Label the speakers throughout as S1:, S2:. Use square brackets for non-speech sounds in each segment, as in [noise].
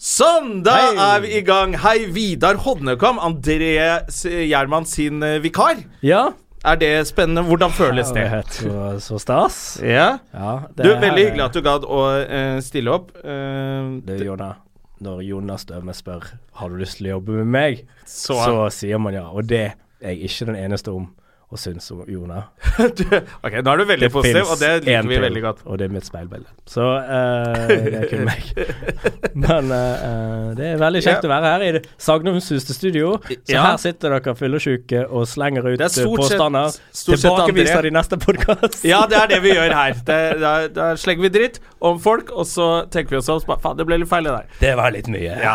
S1: Sånn, da er vi i gang. Hei, Vidar Hodnekam, André S- Gjerman sin eh, vikar.
S2: Ja.
S1: Er det spennende? Hvordan føles det?
S2: Så, så stas.
S1: Ja.
S2: Ja, det
S1: Du,
S2: her
S1: Veldig
S2: er-
S1: hyggelig at du gadd å eh, stille opp. Eh,
S2: Du, Jonna. Når Jonas Døme spør har du lyst til å jobbe med meg, så, sier man ja. Og det er jeg ikke den eneste om å synes om Jona.
S1: [laughs] du, ok, Nå er du veldig positiv,
S2: finnes
S1: og det
S2: en
S1: liker vi
S2: til,
S1: veldig godt.
S2: Og det er mitt speilbilde. Så eh, det er kun
S1: [laughs]
S2: meg. Men eh, eh, det er veldig kjekt
S1: Ja.
S2: å være her i det sagnomsuste studio. Så
S1: Ja.
S2: her sitter dere fyllesyke og slenger ut
S1: Det
S2: eh,
S1: er stort sett-
S2: påstander.
S1: stort sett André.
S2: Tilbakeviser de neste podkast.
S1: Ja, det er det vi gjør her. Det, da, da slenger vi dritt om folk, og så tenker vi oss om. så bare, Faen, det ble litt feil, det der.
S2: det var litt mye.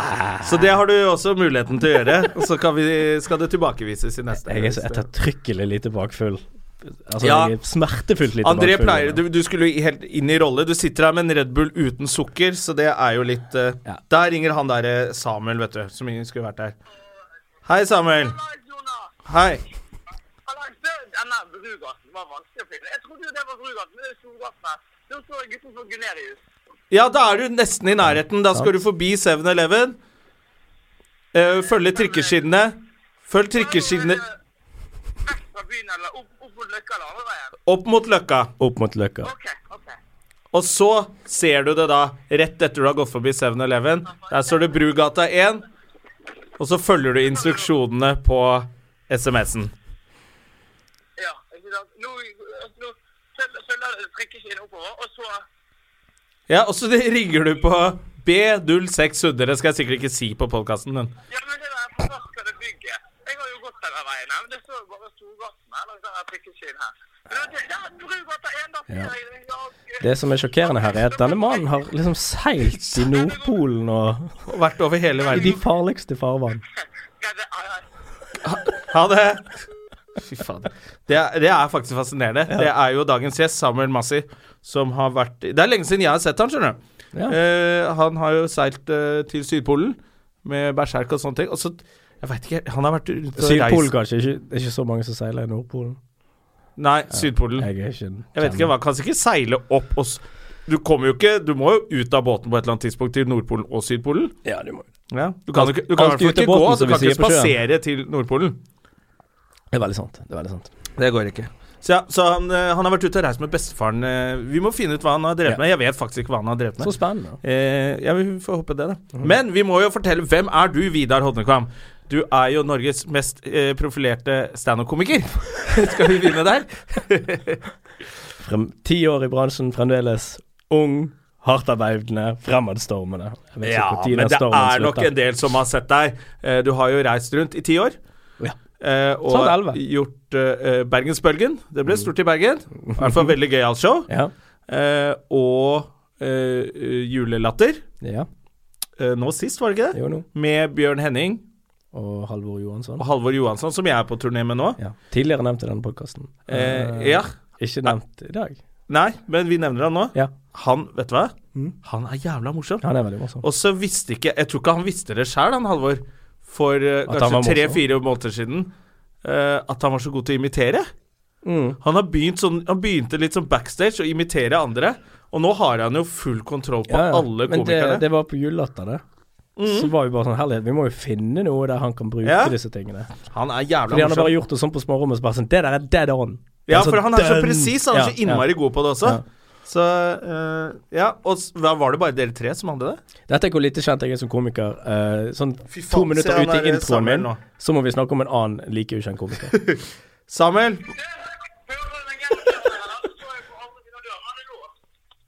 S1: Så det har du også muligheten til å gjøre. Og så kan vi, skal det tilbakevises i neste.
S2: Jeg er så ettertrykkelig lite bakfull. Altså,
S1: Ja.
S2: jeg er smertefullt lite
S1: André
S2: bakfull.
S1: pleier du, du skulle jo helt inn i rolle. Du sitter her med en Red Bull uten sukker, så det er jo litt eh,
S2: Ja.
S1: Der ringer han derre Samuel, vet du, som ingen skulle vært der. Hei, Samuel. Hei.
S3: Denne brugassen var vanskelig å finne. Jeg trodde jo det var brugassen, men det er ikke brugassen her. Nå står jeg utenfor Gunerius.
S1: Ja, da er du nesten i nærheten. Da skal du forbi 7-Eleven. Eh, følge trikkeskinnene. Følg trikkeskinnene
S3: Vekk fra byen eller opp, opp mot Løkka eller andre veien.
S1: opp mot Løkka.
S2: Opp mot Løkka.
S3: Ok, ok.
S1: Og så ser du det da, rett etter du har gått forbi 7-Eleven. Der står det Brugata 1, og så følger du instruksjonene på SMS-en.
S3: Ja, ikke sant. Nå, altså, nå følger- følger trikkeskinnen oppover, og så
S1: Ja, og så [laughs] ringer du på B0600. Det skal jeg sikkert ikke si på podkasten din.
S3: Ja, men det der forbaskede bygget. Jeg har jo gått denne veien her, men det står jo bare Storgaten her langs denne trikkeskinnen her. Men det, det er Brugata 1, da ser jeg det. Ja, gud.
S2: Det som er sjokkerende her, er at denne mannen har liksom seilt i Nordpolen og
S1: Og vært over hele
S2: i de
S1: verden.
S2: farligste farvann.
S3: Ja, det er- ja,
S1: Ha det! Fy fader. Det, er- det er faktisk fascinerende. Det er jo dagens gjest, Samuel Massi, som har vært Det er lenge siden jeg har sett han, skjønner du.
S2: Ja.
S1: Eh, han har jo seilt eh, til Sydpolen med berserk og sånne ting. Og så Jeg veit ikke Han har vært ute og
S2: Sydpolen kanskje, ikke, det er ikke så mange som seiler i Nordpolen.
S1: Nei, Sydpolen.
S2: Jeg er ikke en
S1: Jeg vet ikke hva Kan ikke seile opp og s- Du kommer jo ikke Du må jo ut av båten på et eller annet tidspunkt til Nordpolen og Sydpolen.
S2: Ja, du må
S1: Ja. Du kan jo ikke, du kan i hvert
S2: Alltid
S1: fall
S2: ut av
S1: ikke
S2: båten,
S1: gå. altså.
S2: som
S1: Du
S2: vi
S1: kan ikke
S2: sier på sjøen.
S1: spasere til Nordpolen.
S2: Det er veldig sant. Det er veldig sant.
S1: Det går ikke. Så, ja, så han, eh, han har vært ute og reist med bestefaren. eh, Vi må finne ut hva han har drevet
S2: Ja.
S1: med. Jeg vet faktisk ikke hva han har drevet med.
S2: Så spennende.
S1: Eh, ja, vi får håpe det, da. Men vi må jo fortelle hvem er du, Vidar Hodnekvam? Du er jo Norges mest eh, profilerte standup-komiker. [laughs] Skal vi begynne der?
S2: Frem, ti år i bransjen, fremdeles ung, hardtarbeidende, fremadstormende. Jeg vet ikke
S1: [laughs] Ja,
S2: hvor tid
S1: men
S2: den
S1: det
S2: stormen
S1: er nok
S2: slutter.
S1: en del som har sett deg. Eh, Du har jo reist rundt i ti år.
S2: Ja.
S1: Eh, og
S2: Snart elleve.
S1: gjort eh, eh, Bergensbølgen. Det ble stort i Bergen. I hvert fall veldig gøyalt show. [laughs]
S2: Ja.
S1: Eh, og eh, Julelatter.
S2: ja.
S1: Eh, nå sist, var det ikke det?
S2: Jo, nå.
S1: Med Bjørn Henning
S2: Og Halvor Johansson.
S1: og Halvor Johansson, som jeg er på turné med nå.
S2: Ja. Tidligere nevnt i denne podkasten.
S1: Eh, ja.
S2: Ikke nevnt i dag.
S1: Nei, men vi nevner han nå.
S2: Ja, Mm.
S1: Han, vet du hva? Han er jævla morsom.
S2: han er veldig morsom.
S1: Og så visste ikke Jeg tror ikke han visste det sjøl, han Halvor, for eh,
S2: At han var
S1: kanskje
S2: morsom?
S1: tre-fire måneder siden, eh, at han var så god til å imitere.
S2: Mm.
S1: Han, har begynt sånn, han begynte litt sånn backstage å imitere andre, og nå har han jo full kontroll på
S2: Ja, ja.
S1: alle
S2: Men det,
S1: komikerne.
S2: det var på julelatter, det. Så var vi bare sånn Herlighet, vi må jo finne noe der han kan bruke
S1: Ja.
S2: disse tingene.
S1: han er jævla
S2: Fordi han har
S1: morsom.
S2: bare gjort det sånn på smårommet, så bare sånn Det der er dead on.
S1: Ja,
S2: Altså,
S1: for han er så
S2: den-
S1: presis. Han
S2: Ja,
S1: er så innmari god på det også.
S2: Ja.
S1: Så eh, Ja, og s- hva var det bare dere tre som hadde det?
S2: ja. Dette er hvor lite kjent jeg er som komiker. Eh, sånn
S1: Fy faen,
S2: to
S1: se
S2: minutter
S1: han
S2: ut i
S1: der
S2: introen
S1: Samuel
S2: min,
S1: nå.
S2: så må vi snakke om en annen like ukjent komiker.
S1: Samuel?
S3: Hører du den gjennom døren, eller? Så står jeg på andre siden av døren. Han er låst.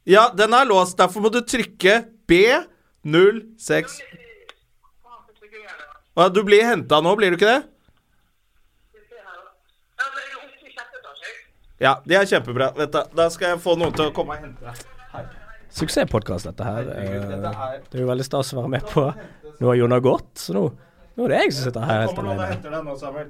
S1: Ja, den er låst. Derfor må du trykke B06.
S3: Faen, så trykker jeg det.
S1: Ja, du blir henta nå, blir du ikke det?
S3: Altså, jeg er oppe i sjette etasje. jeg.
S1: Ja, det er kjempebra. Vent da, da skal jeg få noen til å komme og hente deg.
S2: Suksesspodkast, dette her. Eh, Det er jo veldig stas å være med på. Nå har Jonar gått, så nå, nå er det jeg som sitter her helt
S1: Kommer noen og
S2: alene.
S1: henter deg nå, Samuel?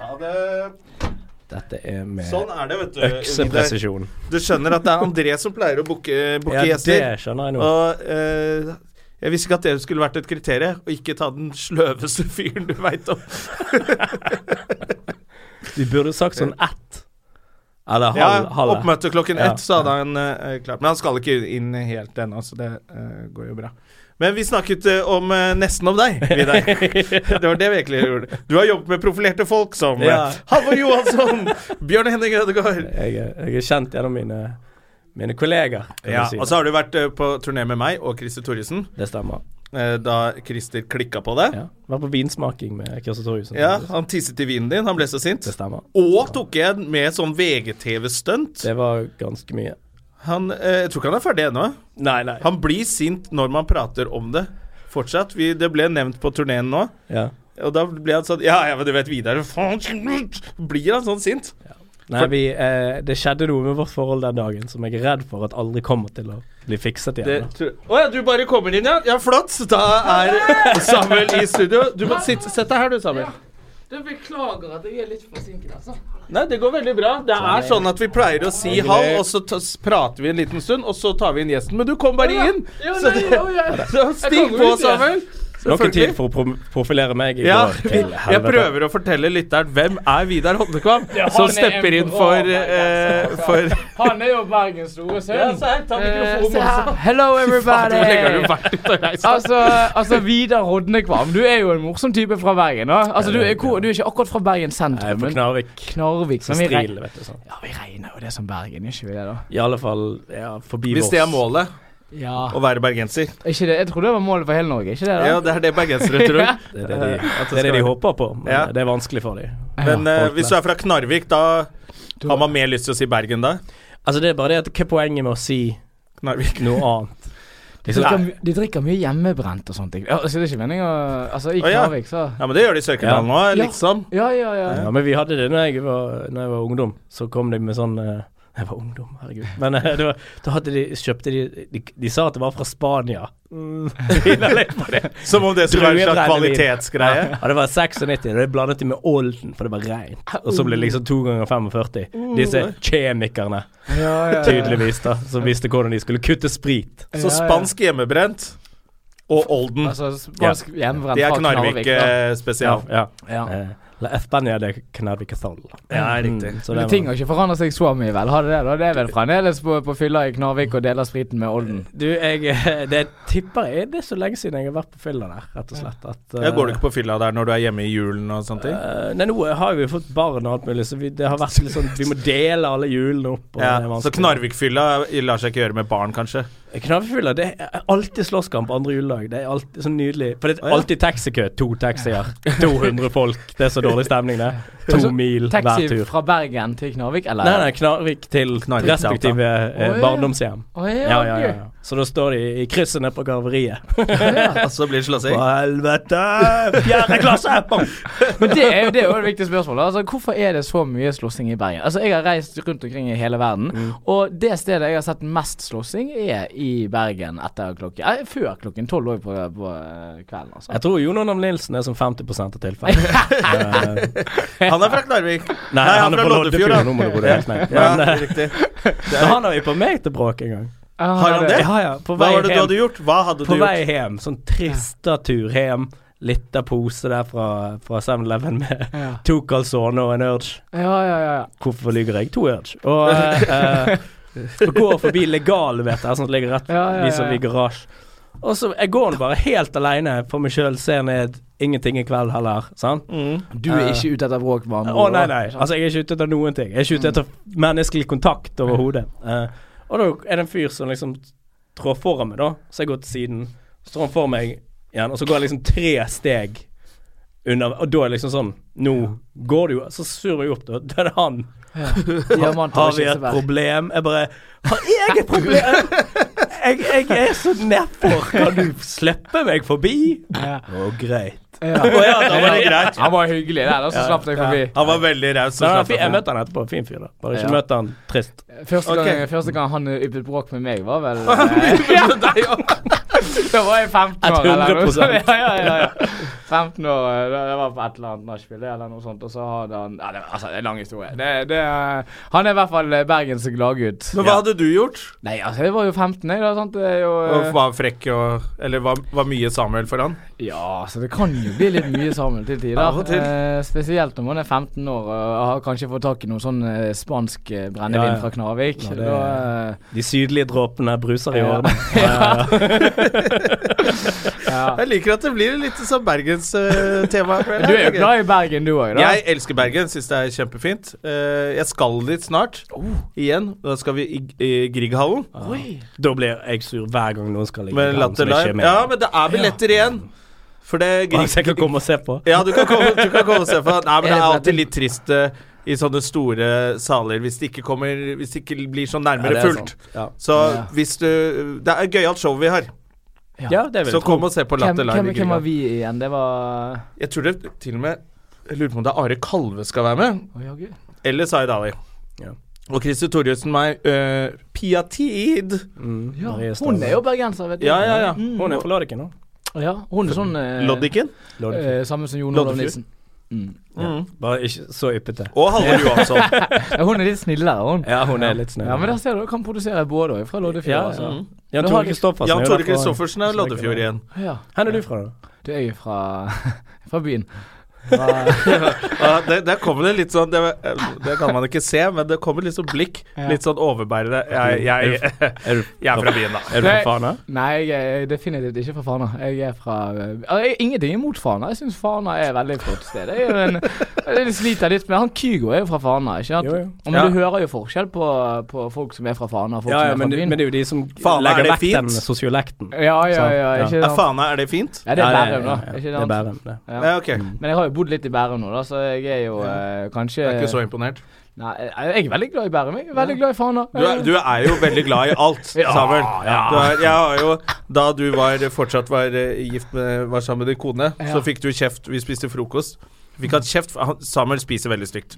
S1: Ha det.
S2: Dette er med
S1: Sånn er det, vet du. Vidar.
S2: øksepresisjon.
S1: Du skjønner at det er André som pleier å booke booke
S2: Ja, det
S1: gjester.
S2: skjønner jeg nå.
S1: Og eh, jeg visste ikke at det skulle vært et kriterium, å ikke ta den sløveste fyren du veit
S2: [laughs]
S1: om.
S2: Vi burde sagt sånn ett. Eller
S1: Ja,
S2: halv. halv [laughs] ett.
S1: Oppmøte klokken
S2: Ja,
S1: ett, så hadde han eh, klart Men han skal ikke inn helt ennå, så det eh, går jo bra. Men vi snakket eh, om eh, nesten om deg,
S2: [laughs]
S1: Vidar. [laughs] det var det vi egentlig gjorde. Du har jobbet med profilerte folk som eh,
S2: Ja.
S1: Halvor
S2: [laughs]
S1: Johansson, Bjørn Henning Ødegaard
S2: Jeg, er- jeg er kjent gjennom mine, mine kollegaer. kan
S1: ja,
S2: du si.
S1: Og så har du vært eh, på turné med meg og Christer Thoresen,
S2: det stemmer.
S1: eh, da Christer klikka på det.
S2: Ja. Vært på vinsmaking med Kirsten Torjussen.
S1: Ja, han tisset i vinen din, han ble så sint.
S2: Det stemmer.
S1: Og tok jeg den med sånn VGTV-stunt.
S2: Det var ganske mye.
S1: Han, eh, jeg tror ikke han er ferdig ennå.
S2: Nei, nei.
S1: Han blir sint når man prater om det. Fortsatt. Vi, det ble nevnt på turneen nå.
S2: Ja.
S1: Og da ble han sånn Ja, ja, men du vet Vidar faen, Blir han sånn sint?
S2: Nei, vi, eh, det skjedde noe med vårt forhold den dagen som jeg er redd for at aldri kommer til å bli fikset
S1: Det,
S2: igjen. da.
S1: tro- å ja, du bare kommer inn, ja? Ja, flott. Da er Samuel i studio. Du må sitte, Sett deg her, du, Samuel.
S4: Du beklager at jeg er litt forsinket, altså.
S1: Nei, det går veldig bra. Det er sånn at vi pleier å si halv, og så ta, s- prater vi en liten stund, og så tar vi inn gjesten. Men du kom bare inn!
S4: Ja,
S1: [laughs] Så
S4: nei,
S1: det-
S4: ja, ja.
S1: [laughs] Så
S4: Jeg
S1: stig
S4: kommer
S1: på,
S4: ut, ja.
S1: Samuel.
S2: Noen
S1: Selvfølgelig.
S2: tid for å pro profilere meg i
S1: Ja,
S2: går
S1: vi-
S2: til
S1: [laughs] jeg prøver å fortelle lytteren hvem er Vidar Hodnekvam,
S4: [laughs] Ja, han
S1: som
S4: er en
S1: stepper inn
S4: bra
S1: for, eh,
S4: bergenser, altså.
S1: [laughs] for
S4: Han er jo Bergens store sønn.
S1: Ja, se her, ta [laughs] mikrofonen
S4: Eh, se her. Hello,
S1: Fader, hvor lenge har du
S4: everybody.
S1: vært ute og reist?
S4: Altså, altså, Vidar Hodnekvam, du er jo en morsom type fra Bergen. Da. Altså, du, er, hvor- du er ikke akkurat fra Bergen
S2: Jeg er
S4: sentrum,
S2: på
S4: men
S2: Knarvik.
S4: Knarvik.
S2: Som
S4: Men vi,
S2: stril,
S4: regner,
S2: vet du. Sånn.
S4: ja, vi regner jo det som Bergen, gjør ikke vi det, da?
S2: I alle fall ja, forbi
S1: Hvis det er målet,
S4: Ja.
S1: å være bergenser.
S4: Ikke det. Jeg trodde det var målet for hele Norge, ikke det? da?
S1: Ja, det er det bergensere [laughs]
S4: [laughs]
S1: tror.
S2: Det er det de,
S1: At
S2: det er det
S1: skal-
S2: de håper på, men
S1: Ja.
S2: eh, det er vanskelig for dem.
S1: Men
S2: Ja,
S1: eh,
S2: folk
S1: hvis du er fra Knarvik, da har man mer lyst til å si Bergen da?
S2: Altså, det er bare det at hva er poenget med å si
S1: Knarvik.
S2: noe annet?
S4: De drikker, my- de drikker mye hjemmebrent og sånt. ikke? Ja, Altså, det er ikke meningen å Altså, i
S1: Å, ja.
S4: Knarvik, så
S1: Ja, men det gjør de i Sørkedalen nå,
S4: Ja.
S1: liksom.
S4: Ja, ja, ja.
S2: Ja, men vi hadde det når jeg var, når jeg var ungdom. Så kom de med sånn eh, Jeg var ungdom, herregud. Men eh, det var, da hadde de, kjøpte de, de De sa at det var fra Spania. [laughs] Tviler litt på det.
S1: Som om det skulle være en slags
S2: Druebrennevin.
S1: kvalitetsgreie.
S2: Ja, det var 96, og det blandet de med Olden, for det var rein. Og så ble det liksom to ganger 45. Disse kjemikerne,
S4: ja, ja, ja.
S2: tydeligvis, da, som visste hvordan de skulle kutte sprit.
S1: Så
S4: Ja, ja.
S1: spansk hjemmebrent og Olden.
S4: Altså, spansk hjemmebrent
S1: Mm. Det er
S4: fra
S1: Knarvik
S4: da.
S1: eh, spesial.
S2: ja.
S4: Ja.
S2: Eh, La Espania de Knarvikasol.
S1: Ja, riktig.
S2: så
S4: Men
S2: det
S4: ting
S2: var-
S4: har ikke forandret seg så mye, vel? Har det det? da? Det er vel fremdeles på, på fylla i Knarvik og deler spriten med Olden.
S2: Du, jeg eh, det tipper Er det så lenge siden jeg har vært på fylla der, rett og slett? At,
S1: Ja, går du ikke på fylla der når du er hjemme i julen og sånne ting?
S2: Eh, Nei, nå har vi jo fått barn og alt mulig, så vi, det har vært litt sånn Vi må dele alle hjulene opp. Og det er
S1: Ja, så
S2: vanskelig.
S1: Knarvik-fylla lar seg ikke gjøre med barn, kanskje.
S2: Knarvefylla, det er alltid slåsskamp andre juledag. Det er alltid så nydelig. For det
S1: Å,
S2: er
S1: ja.
S2: alltid taxikø. To taxier, 200 folk. Det er så dårlig stemning,
S1: [laughs]
S2: det. To
S4: Altså,
S2: mil
S4: Taxi
S2: hver tur.
S4: fra Bergen til Knarvik, eller?
S2: Nei, nei, Knarvik til
S1: Knarvik,
S2: respektive eh,
S4: Å, ja.
S2: barndomshjem.
S4: Å, ja,
S2: Ja, ja, ja,
S4: du.
S2: ja. Så da står de i krysset nede på garveriet.
S1: Og [laughs] så blir det slåssing.
S2: helvete! Fjerde klasse! Bang!
S4: Men det er jo det, er jo et viktig spørsmål. da. Altså, hvorfor er det så mye slåssing i Bergen? Altså, Jeg har reist rundt omkring i hele verden,
S2: Mm.
S4: og det stedet jeg har sett mest slåssing, er i Bergen etter klokken eh, Før klokken tolv òg på, på eh, kvelden, altså. [laughs]
S2: Jeg tror Jon Arnam Nilsen er som 50 av tilfellene.
S1: Han er fra Knarvik.
S2: Nei, han er på Loddefjord.
S1: da.
S2: Nå må du gå helt ned.
S1: Ja,
S2: Men, eh,
S1: riktig.
S2: så han har jo på meg til bråk en gang.
S4: Ah,
S1: Har han det?
S2: Ja, ja. På
S1: Hva
S2: vei
S1: var det du
S2: hjem.
S1: hadde gjort? Hva hadde du
S2: På vei
S1: gjort?
S2: hjem. Sånn trista tur hjem. Litt av pose der fra, fra 7-Eleven med
S4: Ja.
S2: to calzone og en Urge.
S4: Ja, ja, ja. ja.
S2: Hvorfor lyver jeg? To Urge. Og eh, eh, går forbi legal, vet jeg, sånn at det ligger rett
S4: Ja, ja, ja,
S2: vis forbi
S4: ja.
S2: garasje. Og så Jeg går nå bare helt aleine for meg sjøl, ser ned. Ingenting i kveld heller. sant?
S4: Du er ikke ute etter bråk, med andre
S2: Å, nei,
S4: ord, da.
S2: nei. Altså, jeg er ikke ute etter noen ting. Jeg er ikke ute etter menneskelig kontakt overhodet. Eh, og da er det en fyr som liksom trår foran meg, da. Så jeg går til siden. Så står han for meg igjen, og så går jeg liksom tre steg under Og da er det liksom sånn Nå går det jo Så surrer jeg opp, da. Da er det han.
S4: Diamanter og
S2: Har vi et
S4: kirsebær.
S2: problem? Jeg bare Har jeg et problem? jeg, jeg er så nedfor. Kan du slippe meg forbi?
S4: Ja.
S2: Å, greit.
S1: Å ja, da var det greit.
S4: Han var hyggelig der, da, så slapp deg forbi.
S1: Han var veldig raus. og
S2: Nei,
S1: slapp
S2: fi- jeg
S1: av.
S2: møtte han etterpå. Fin fyr, da. Bare ikke
S4: Ja.
S2: møte han trist.
S4: Første gang,
S1: Ok.
S4: første gang han yppet bråk med meg, var vel Ja, [laughs] Da var jeg 15 år. eller noe [laughs] sånt.
S2: 100%.
S4: Ja, ja, ja, ja. 15 år, eh, da- jeg var på et eller annet nachspiel eller noe sånt, og så hadde han ja, det, Altså, det er en lang historie. Det, det, er- han er i hvert fall eh, Bergens gladgutt.
S1: Men hva hadde du gjort?
S4: Nei, altså, jeg var jo 15, jeg, da. Sant? Det er jo eh,
S1: Og var frekk og Eller var, var mye Samuel for han?
S4: Ja, så det kan jo bli litt mye sammen til tider.
S1: Av og til.
S4: Eh, spesielt når man er 15 år og har kanskje fått tak i noe sånn eh, spansk eh, brennevin
S2: Ja, ja.
S4: fra Knarvik.
S2: Ja, det-
S4: Da, eh,
S2: De sydlige dråpene bruser i
S4: Ja.
S2: årene.
S1: Jeg liker at det blir litt sånn Bergens-tema.
S4: du er jo glad i Bergen, du òg, da.
S1: Jeg elsker Bergen, syns det er kjempefint. Eh, jeg skal dit snart.
S2: Oh.
S1: Igjen. Da skal vi i, i Grieghallen.
S2: Da blir jeg sur hver gang noen skal ligge
S1: Med Latter Live. Ja,
S2: Ja, men
S1: men det er billetter igjen. For det
S2: Hvis jeg kan komme og se på.
S1: [laughs] Ja, du kan komme, du kan komme og se på. Nei,
S2: [laughs]
S1: men det er
S4: Rett og slett
S1: alltid litt trist eh, i sånne store saler hvis det ikke, kommer, hvis det ikke blir sånn nærmere
S2: Ja, det er
S1: fullt.
S2: sant. Ja.
S1: Så hvis du Det er gøyalt show vi har,
S2: Ja, det vil
S1: så
S2: jeg tro.
S1: kom og se på
S4: Hvem,
S1: Latter Live.
S4: hvem,
S1: i
S4: hvem
S1: Grieghallen.
S4: var vi igjen? Det var
S1: Jeg tror det til og med Jeg lurer på om det er Are Kalve skal være med.
S4: Å, ja, gud.
S1: Eller Zaid Ali.
S2: Ja.
S1: Og Christer Torjussen meg øh, Pia Tid.
S4: Ja,
S2: Marie Støre.
S4: hun er jo bergenser, vet du.
S1: Ja, ja, ja.
S2: Hun er fra Loddiken nå.
S4: Ja, hun er sånn eh,
S1: Loddiken.
S2: Mm. Loddiken.
S4: eh, Samme som Jon Olav
S1: Loddefjord.
S4: Nilsen. Mm.
S2: Bare ikke så yppete.
S1: Og Halvor Johansson.
S4: Ja, hun er litt snillere, hun.
S2: [laughs] Ja, hun er litt snill.
S4: Ja, men der ser du, kan produsere både òg, fra Loddefjord.
S2: Ja,
S4: altså.
S2: Jan
S4: Nå har
S2: Tore
S4: de-
S2: Kristoffersen.
S1: Jan
S2: er jo
S1: Tore
S2: derfra.
S1: Kristoffersen er Loddefjord igjen.
S4: ja.
S2: Hvor er du fra, da?
S4: Du er jo fra, [laughs] fra byen.
S1: Ja, det, der kommer det litt sånn det, det kan man ikke se, men det kommer litt sånn blikk. Litt sånn overbærende. Jeg, jeg,
S2: Er du,
S1: jeg er fra byen, da.
S2: er du fra Fana?
S4: Nei, jeg er definitivt ikke fra Fana. Jeg er fra eh, altså, jeg, Ingenting imot Fana. Jeg syns Fana er et veldig flott sted. Jeg, er jo en, [laughs] jeg sliter litt med Han Kygo er jo fra Fana, ikke sant?
S2: Jo, jo.
S4: Men
S1: Ja.
S4: du hører jo forskjell på, på folk som er fra Fana og folk
S2: Ja, ja,
S4: som er
S2: men,
S4: fra
S2: det-
S4: byen.
S2: men det er jo de som
S1: Fana, er
S2: legger
S1: det
S2: vekk den
S1: fint?
S2: sosiolekten.
S4: ja, ja, ja,
S2: Ja.
S4: ikke
S1: Er
S4: sant?
S1: faen er det fint?
S4: Ja, det er
S2: Ja, det-
S4: Bærum, da.
S2: ja, ja.
S4: Ikke
S2: Det er
S4: sant?
S2: Bærum, det.
S4: Ja.
S1: Ja, ok.
S2: Mm.
S4: Men jeg har jo bodd litt i Bærum nå, da, så jeg er jo eh, kanskje
S1: Jeg er ikke så imponert.
S4: Nei, jeg jeg er veldig glad i Bærum. Jeg er veldig glad i Fana.
S1: Du er, du er jo veldig glad i alt, Samuel. Du er, jeg har jo, da du var, fortsatt var eh, gift med, var sammen med din kone,
S4: Ja.
S1: så fikk du kjeft. Vi spiste frokost. Fikk han kjeft? for han- Samuel spiser veldig stygt.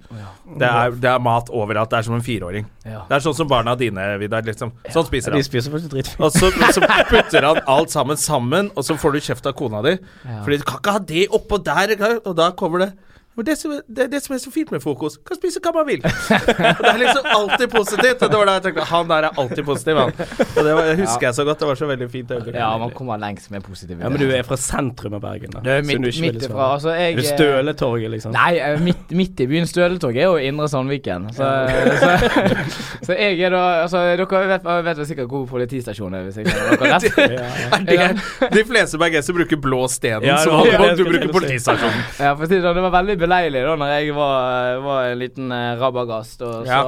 S1: Det er, det er mat overalt. Det er som en fireåring.
S4: Ja.
S1: Det er sånn som barna dine, Vidar. Liksom. Sånn spiser han.
S2: De spiser faktisk dritfint.
S1: Og så, så putter han alt sammen sammen, og så får du kjeft av kona di. Fordi du kan ikke ha det oppå der engang. Og da kommer det men det, som, er- det er det som er så fint med frokost. Kan spise hva
S2: [laughs]
S1: man vil. det er liksom alltid positivt. Og det var da jeg tenkte han der er alltid positiv, han. Og det var, jeg husker jeg så godt. Det var så veldig fint. øyeblikk.
S4: Ja, man kommer lengst med positivitet.
S2: Ja, men du er fra sentrum av Bergen, da.
S4: Det er
S2: så
S4: midt-
S2: du ikke
S4: midt
S2: ville svare.
S4: ifra, altså, jeg-
S2: Er det Støletorget, liksom?
S4: Nei, eh, midt, midt i byen Støletog er jo Indre Sandviken. Så, så, så [laughs] jeg er da altså, Dere vet, vet vel sikkert hvor politistasjonen er, hvis jeg kjenner
S1: [laughs]
S4: dere rett?
S1: Er det- De fleste bergensere bruker blå stenen,
S2: Ja, det
S1: så
S2: var det
S1: håper
S2: jeg
S1: du
S2: skulle
S1: bruker
S2: til å
S1: politistasjonen.
S4: Ja, for å si det, sånn, det var veldig beleilig da når jeg var, var en liten eh, rabagast, og, så,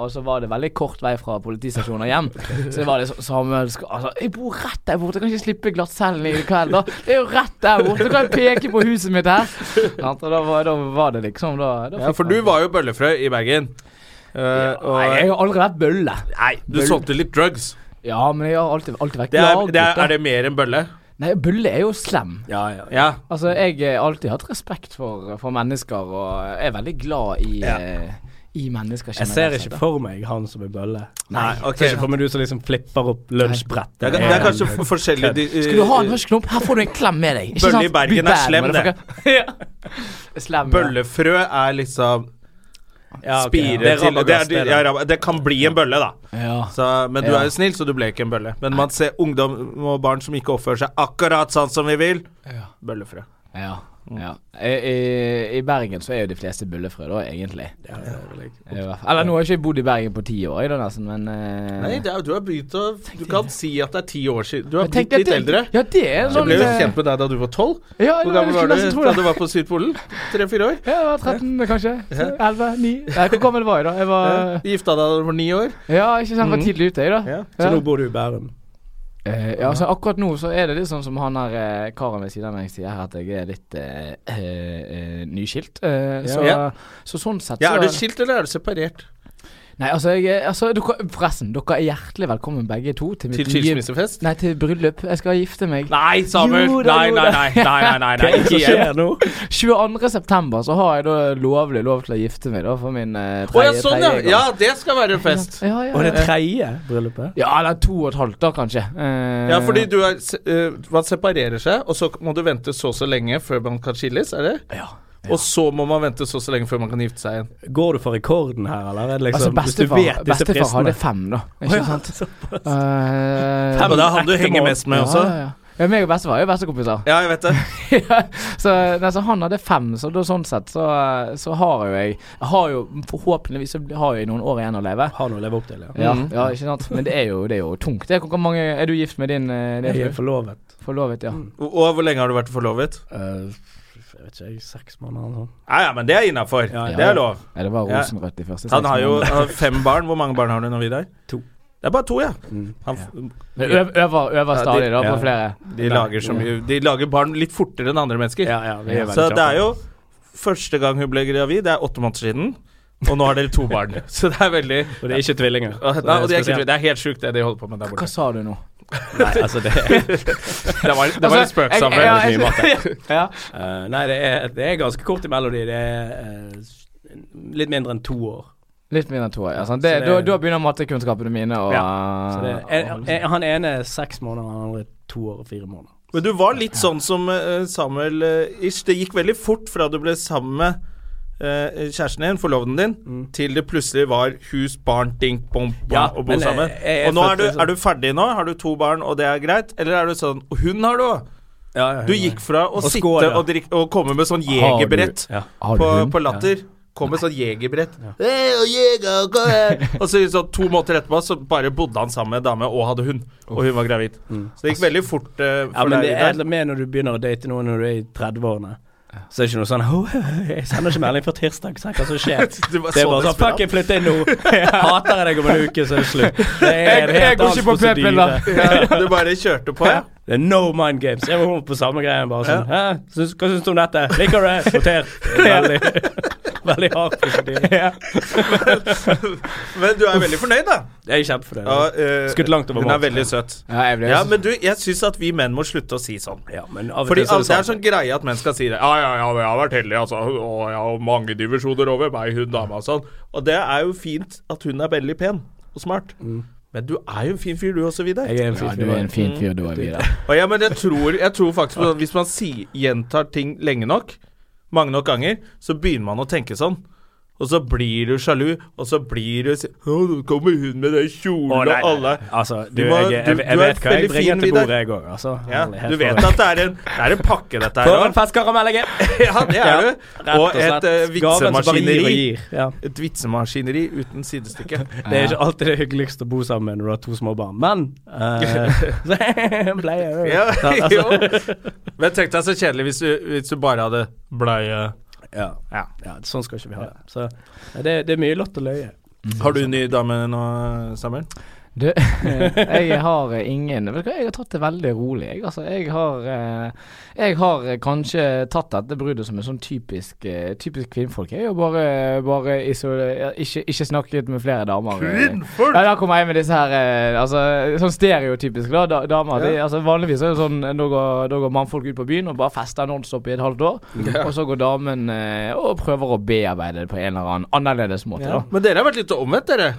S4: og så var det veldig kort vei fra politistasjonen og hjem. Så det var litt sånn Samuel skal, altså, Jeg bor rett der borte, jeg kan ikke slippe glattcellen i kveld, da. Det er jo rett der borte, kan jeg peke på huset mitt her? Sant, Og da var, da var det liksom da, da
S1: Ja, for du var jo bøllefrø i Bergen. Eh, og,
S4: Nei, jeg har aldri vært bølle.
S1: nei, du solgte litt drugs.
S4: Ja, men jeg har alltid, alltid vært
S1: Det er,
S4: glad.
S1: det er,
S4: gutter.
S1: er det mer enn bølle?
S4: Nei, Bulle er jo slem.
S2: Ja, ja.
S1: Ja.
S4: Altså, jeg har alltid hatt respekt for, for mennesker, og er veldig glad i, eh, i mennesker
S2: Jeg ser ikke for meg han som er bølle.
S1: Nei,
S2: Jeg ser ikke
S1: ok.
S2: for meg du som liksom flipper opp lunsjbrettet.
S1: Det er, det er kanskje f- forskjellig de- eh,
S4: Skal du ha en hasjknopp? Her får du en klem med deg. Ikke
S1: Bølle i
S2: Sånn,
S4: sant?
S1: Bergen
S4: Be
S1: er
S4: bad,
S1: slem, det.
S4: motherfucker.
S2: [laughs]
S4: ja. Slem, ja.
S1: Bøllefrø er liksom
S2: Ja, ok,
S1: spire
S2: ja. Det er
S1: til det,
S2: rabagass,
S1: er,
S2: det
S1: ja,
S2: er det.
S1: rab- det kan bli en bølle, da.
S4: Ja.
S1: Så, men du
S4: Ja.
S1: er jo snill, så du ble ikke en bølle. Men man ser ungdom og barn som ikke oppfører seg akkurat sånn som vi vil. Bøllefrø.
S4: Ja. ja. I, i, I Bergen så er jo de fleste bullefrø, da, egentlig. I hvert fall. Eller nå har jeg ikke bodd i Bergen på ti år, jeg da, nesten, men eh,
S1: Nei, det er, du har begynt å Du kan si at det er ti år siden. Du har
S4: jeg
S1: blitt
S4: tenkte at
S1: litt eldre.
S4: Ja, det er en
S1: Jeg
S4: sånn
S1: ble jo
S4: eh,
S1: kjent med deg da du var tolv.
S4: Ja,
S1: Hvor
S4: ja,
S1: gammel
S4: jeg
S1: var
S4: skulle nesten
S1: du
S4: tro
S1: da
S4: det.
S1: du var på Sydpolen? Tre-fire år?
S4: Ja, jeg var 13 kanskje. 11, 9 Nei, Hvor gammel var jeg da? Jeg var
S1: Gifta deg da du var ni år?
S4: Ja, ikke sant. Jeg var tidlig ute, jeg, da.
S1: Mm. Ja.
S2: Så nå bor du i Bærum.
S4: Eh, ja, altså Akkurat nå så er det litt sånn som han her eh, karen ved siden av meg sier her, at jeg er litt eh, eh, eh, nyskilt. Eh, så,
S1: Ja.
S4: så sånn sett
S1: Ja,
S4: så
S1: Er du skilt, eller er du separert?
S4: Nei, altså, jeg, altså dere, Forresten, dere er hjertelig velkommen begge to til mitt
S1: Til skilsmissefest?
S4: Nei, til bryllup. Jeg skal gifte meg.
S1: Nei, Samuel!
S4: Jo da,
S1: Nei,
S4: jo
S1: nei,
S4: da.
S1: nei. nei, nei, [laughs] nei,
S2: Hva
S1: nei.
S2: er det som
S1: Ikke igjen.
S2: skjer nå?
S4: 22. september så har jeg da lovlig lov til å gifte meg, da, for min eh,
S1: Å ja,
S4: tredje
S1: sånn, ja.
S4: tredje gang.
S1: Ja, det skal være en fest.
S4: Ja, ja,
S2: Og det
S4: ja.
S2: tredje bryllupet?
S4: ja, eller to og et halvt, da, kanskje. Eh,
S1: Ja, fordi du er, se- eh, man separerer seg, og så må du vente så og så lenge før man kan skilles, er det?
S4: ja.
S1: Og så må man vente så og så lenge før man kan gifte seg igjen.
S2: Går du for rekorden her, eller? Er det
S4: Altså,
S2: Liksom,
S4: bestefar, bestefar hadde fem, da. Ikke sant?
S1: [laughs]
S4: Eh,
S1: Ja, men det er han du henger mest med også.
S4: Ja, ja, ja. ja meg og bestefar er jo bestekompiser. [laughs]
S1: Ja, jeg vet det.
S4: så, nei, så han hadde fem, så da, sånn sett så, så har jo jeg, jeg har jo, Forhåpentligvis så har jeg noen år igjen å leve.
S2: Har noe å leve opp til, ja.
S4: Ja,
S1: Mm.
S4: ja, ikke sant? Men det er jo, det er jo tungt. Det er, hvor mange, er du gift med din, eh, din
S2: Jeg er
S4: fru?
S2: forlovet.
S4: forlovet? Ja.
S1: Og og hvor lenge har du vært forlovet?
S2: Eh, jeg vet ikke, jeg er seks måneder eller noe sånt.
S1: Ja, ja, men det er innafor.
S2: ja.
S1: Det er lov.
S4: Nei, det var
S1: Ja.
S4: rosenrødt de første
S1: Han
S4: seks
S1: har jo
S4: månedene.
S1: har fem barn. Hvor mange barn har du nå, Vidar?
S2: To.
S1: Det er bare to, Mm. ja. Han, f-
S4: Men øv, øver, øver
S1: Ja,
S4: stadig,
S1: de-
S4: da,
S2: ja.
S4: på flere.
S1: de, lager så mye, de lager barn litt fortere enn andre mennesker.
S2: Ja, ja, vi er veldig
S1: Så det
S2: kjappe.
S1: er jo første gang hun ble gravid, det er åtte måneder siden. Og nå har dere to barn.
S2: [laughs]
S1: Så det er veldig
S2: Og det er ikke tvillinger.
S1: Nei,
S2: Så
S1: og det, er ikke,
S2: spesielt.
S1: det er helt sjukt, det de holder på med der
S4: Hva
S1: borte.
S4: sa du nå? Altså,
S2: Nei, altså, det
S1: [laughs]
S2: er
S1: Det var, det var en spøk,
S4: jeg-
S1: Samuel.
S4: ja,
S2: veldig mye mat.
S4: [laughs] Ja.
S2: Eh, nei, det er, det er ganske kort i Melody. Det er eh, s- litt mindre enn to år.
S4: Litt mindre enn to år. Ja, sant? det,
S2: Så det-
S4: da, da begynner mattekunnskapene mine å
S2: Så det
S4: Ah,
S2: er, er- er, han ene er seks måneder, han andre er to år og fire måneder.
S1: Men du var litt sånn som eh, Samuel eh, ish. Det gikk veldig fort fra du ble sammen med eh, kjæresten din, forloveden din, til det plutselig var hus, barn, dink, bom, bom
S2: Mm. Ja,
S1: og bo
S2: men, eh,
S1: sammen.
S2: jeg- jeg
S1: og nå er du,
S2: følte sånn-
S1: er du ferdig nå? Har du to barn, og det er greit? Eller er du sånn Og hun har du òg! Du gikk fra å
S2: Og
S1: sitte
S2: skål, ja.
S1: og, drikke, og komme med sånn jegerbrett
S2: Ja.
S4: Har
S1: på,
S4: du hund?
S1: på latter. Kom med sånn jegerbrett. «Hey, og jeger, kom her!» Og så, så to måneder etterpå så bare bodde han sammen med en dame og hadde hund. Og hun var gravid. Så det gikk veldig fort eh,
S2: Mm. Altså-
S1: for
S2: Ja, men
S1: deg.
S2: det er
S1: Vidar. [laughs]
S2: noe med når du begynner å date noen når du er i 30-årene. Så er det ikke noe sånn [laughs] «Åh, Jeg sender ikke melding før tirsdag, se hva som
S4: [laughs]
S2: skjer.
S1: Du var
S2: Det er
S1: så
S2: bare sånn
S1: desperat.
S2: Fuck, jeg flytter inn nå. Hater jeg deg om en uke, så er det slutt. Det er
S4: Jeg-
S2: en
S4: jeg
S2: helt
S4: går
S2: annen
S4: ikke på
S2: prosedyre.
S4: p-piller.
S1: Ja, du bare kjørte på, ja.
S2: Det er no mind games. Jeg var hun på samme greien. Bare sånn Hæ? Syns, Hva syns du om dette? Liker du det? Notert.
S1: [laughs]
S2: Veldig, [laughs] veldig hard prosedyre.
S1: Men du er veldig fornøyd, da.
S2: Jeg er kjempefornøyd.
S1: Ja, eh,
S2: Skutt langt over
S1: Hun er
S2: mål.
S1: veldig søt.
S4: Ja, jeg ble
S1: Ja, men du, jeg syns at vi menn må slutte å si sånn.
S2: Ja, men av og
S1: Fordi
S2: til så
S1: altså, det er
S2: sant.
S1: sånn greie at menn skal si det. Ja, ja, ja, jeg har vært heldig, altså. Og jeg har mange divisjoner over meg, hun dama og sånn. Og det er jo fint at hun er veldig pen og smart. Men du er jo en fin fyr, du også, Vidar.
S2: Mm. Jeg er en
S4: Ja,
S2: fin
S4: du er
S2: fyr.
S4: en fin fyr, du er videre.
S1: Og ja, men jeg tror, jeg tror faktisk på sånn, Hvis man si, gjentar ting lenge nok, mange nok ganger, så begynner man å tenke sånn. Og så blir du sjalu, og så blir du si- Å, nå kommer hun med den kjolen
S2: Å, nei,
S1: og
S2: nei.
S1: alle
S2: Altså, du,
S1: Du må-
S2: jeg, jeg, jeg
S1: du- du er
S2: vet hva jeg
S1: veldig fin,
S2: bringer til
S1: Vidar.
S2: bordet, jeg òg. Altså,
S1: ja,
S2: Herlighet,
S1: Du vet
S2: for-
S1: at det er en, det er en pakke, dette her.
S2: For en
S1: også.
S2: festkaramell jeg er!
S1: [laughs] Ja, det er du.
S2: Rett
S1: Og
S2: slett.
S1: et eh,
S2: Gaven som bare gir og
S1: vitsemaskineri.
S2: gir. Ja.
S1: Et vitsemaskineri uten sidestykke.
S2: Det er ikke alltid det hyggeligste å bo sammen med når du har to små barn, men eh, så [laughs]
S1: [laughs]
S2: jeg pleier jo.
S1: Ja,
S2: Sant, altså.
S1: jo. Men tenk deg så kjedelig hvis du, hvis du bare hadde bleie
S2: Ja.
S1: Ja.
S2: ja, sånn skal ikke vi ha det. Så det, det er mye lott og løye.
S1: Har du en ny dame nå, Samuel?
S4: Du, [laughs] jeg har eh, ingen Vet du hva, jeg har tatt det veldig rolig, jeg. Altså, jeg har eh, Jeg har eh, kanskje tatt dette bruddet som en sånn typisk eh, Typisk kvinnfolk. Jeg har jo bare, bare iso, ja, ikke, ikke snakket med flere damer. Kvinnfolk?! Ja, da kommer jeg med disse her eh, Altså, sånn stereotypisk, da. da damer. De, altså, vanligvis er det sånn eh, da går, da går mannfolk ut på byen og bare fester nonstop i et halvt år. Og så går damen eh, og prøver å bearbeide det på en eller annen annerledes måte, da. [laughs]
S1: Men dere har vært litt omvendt, dere.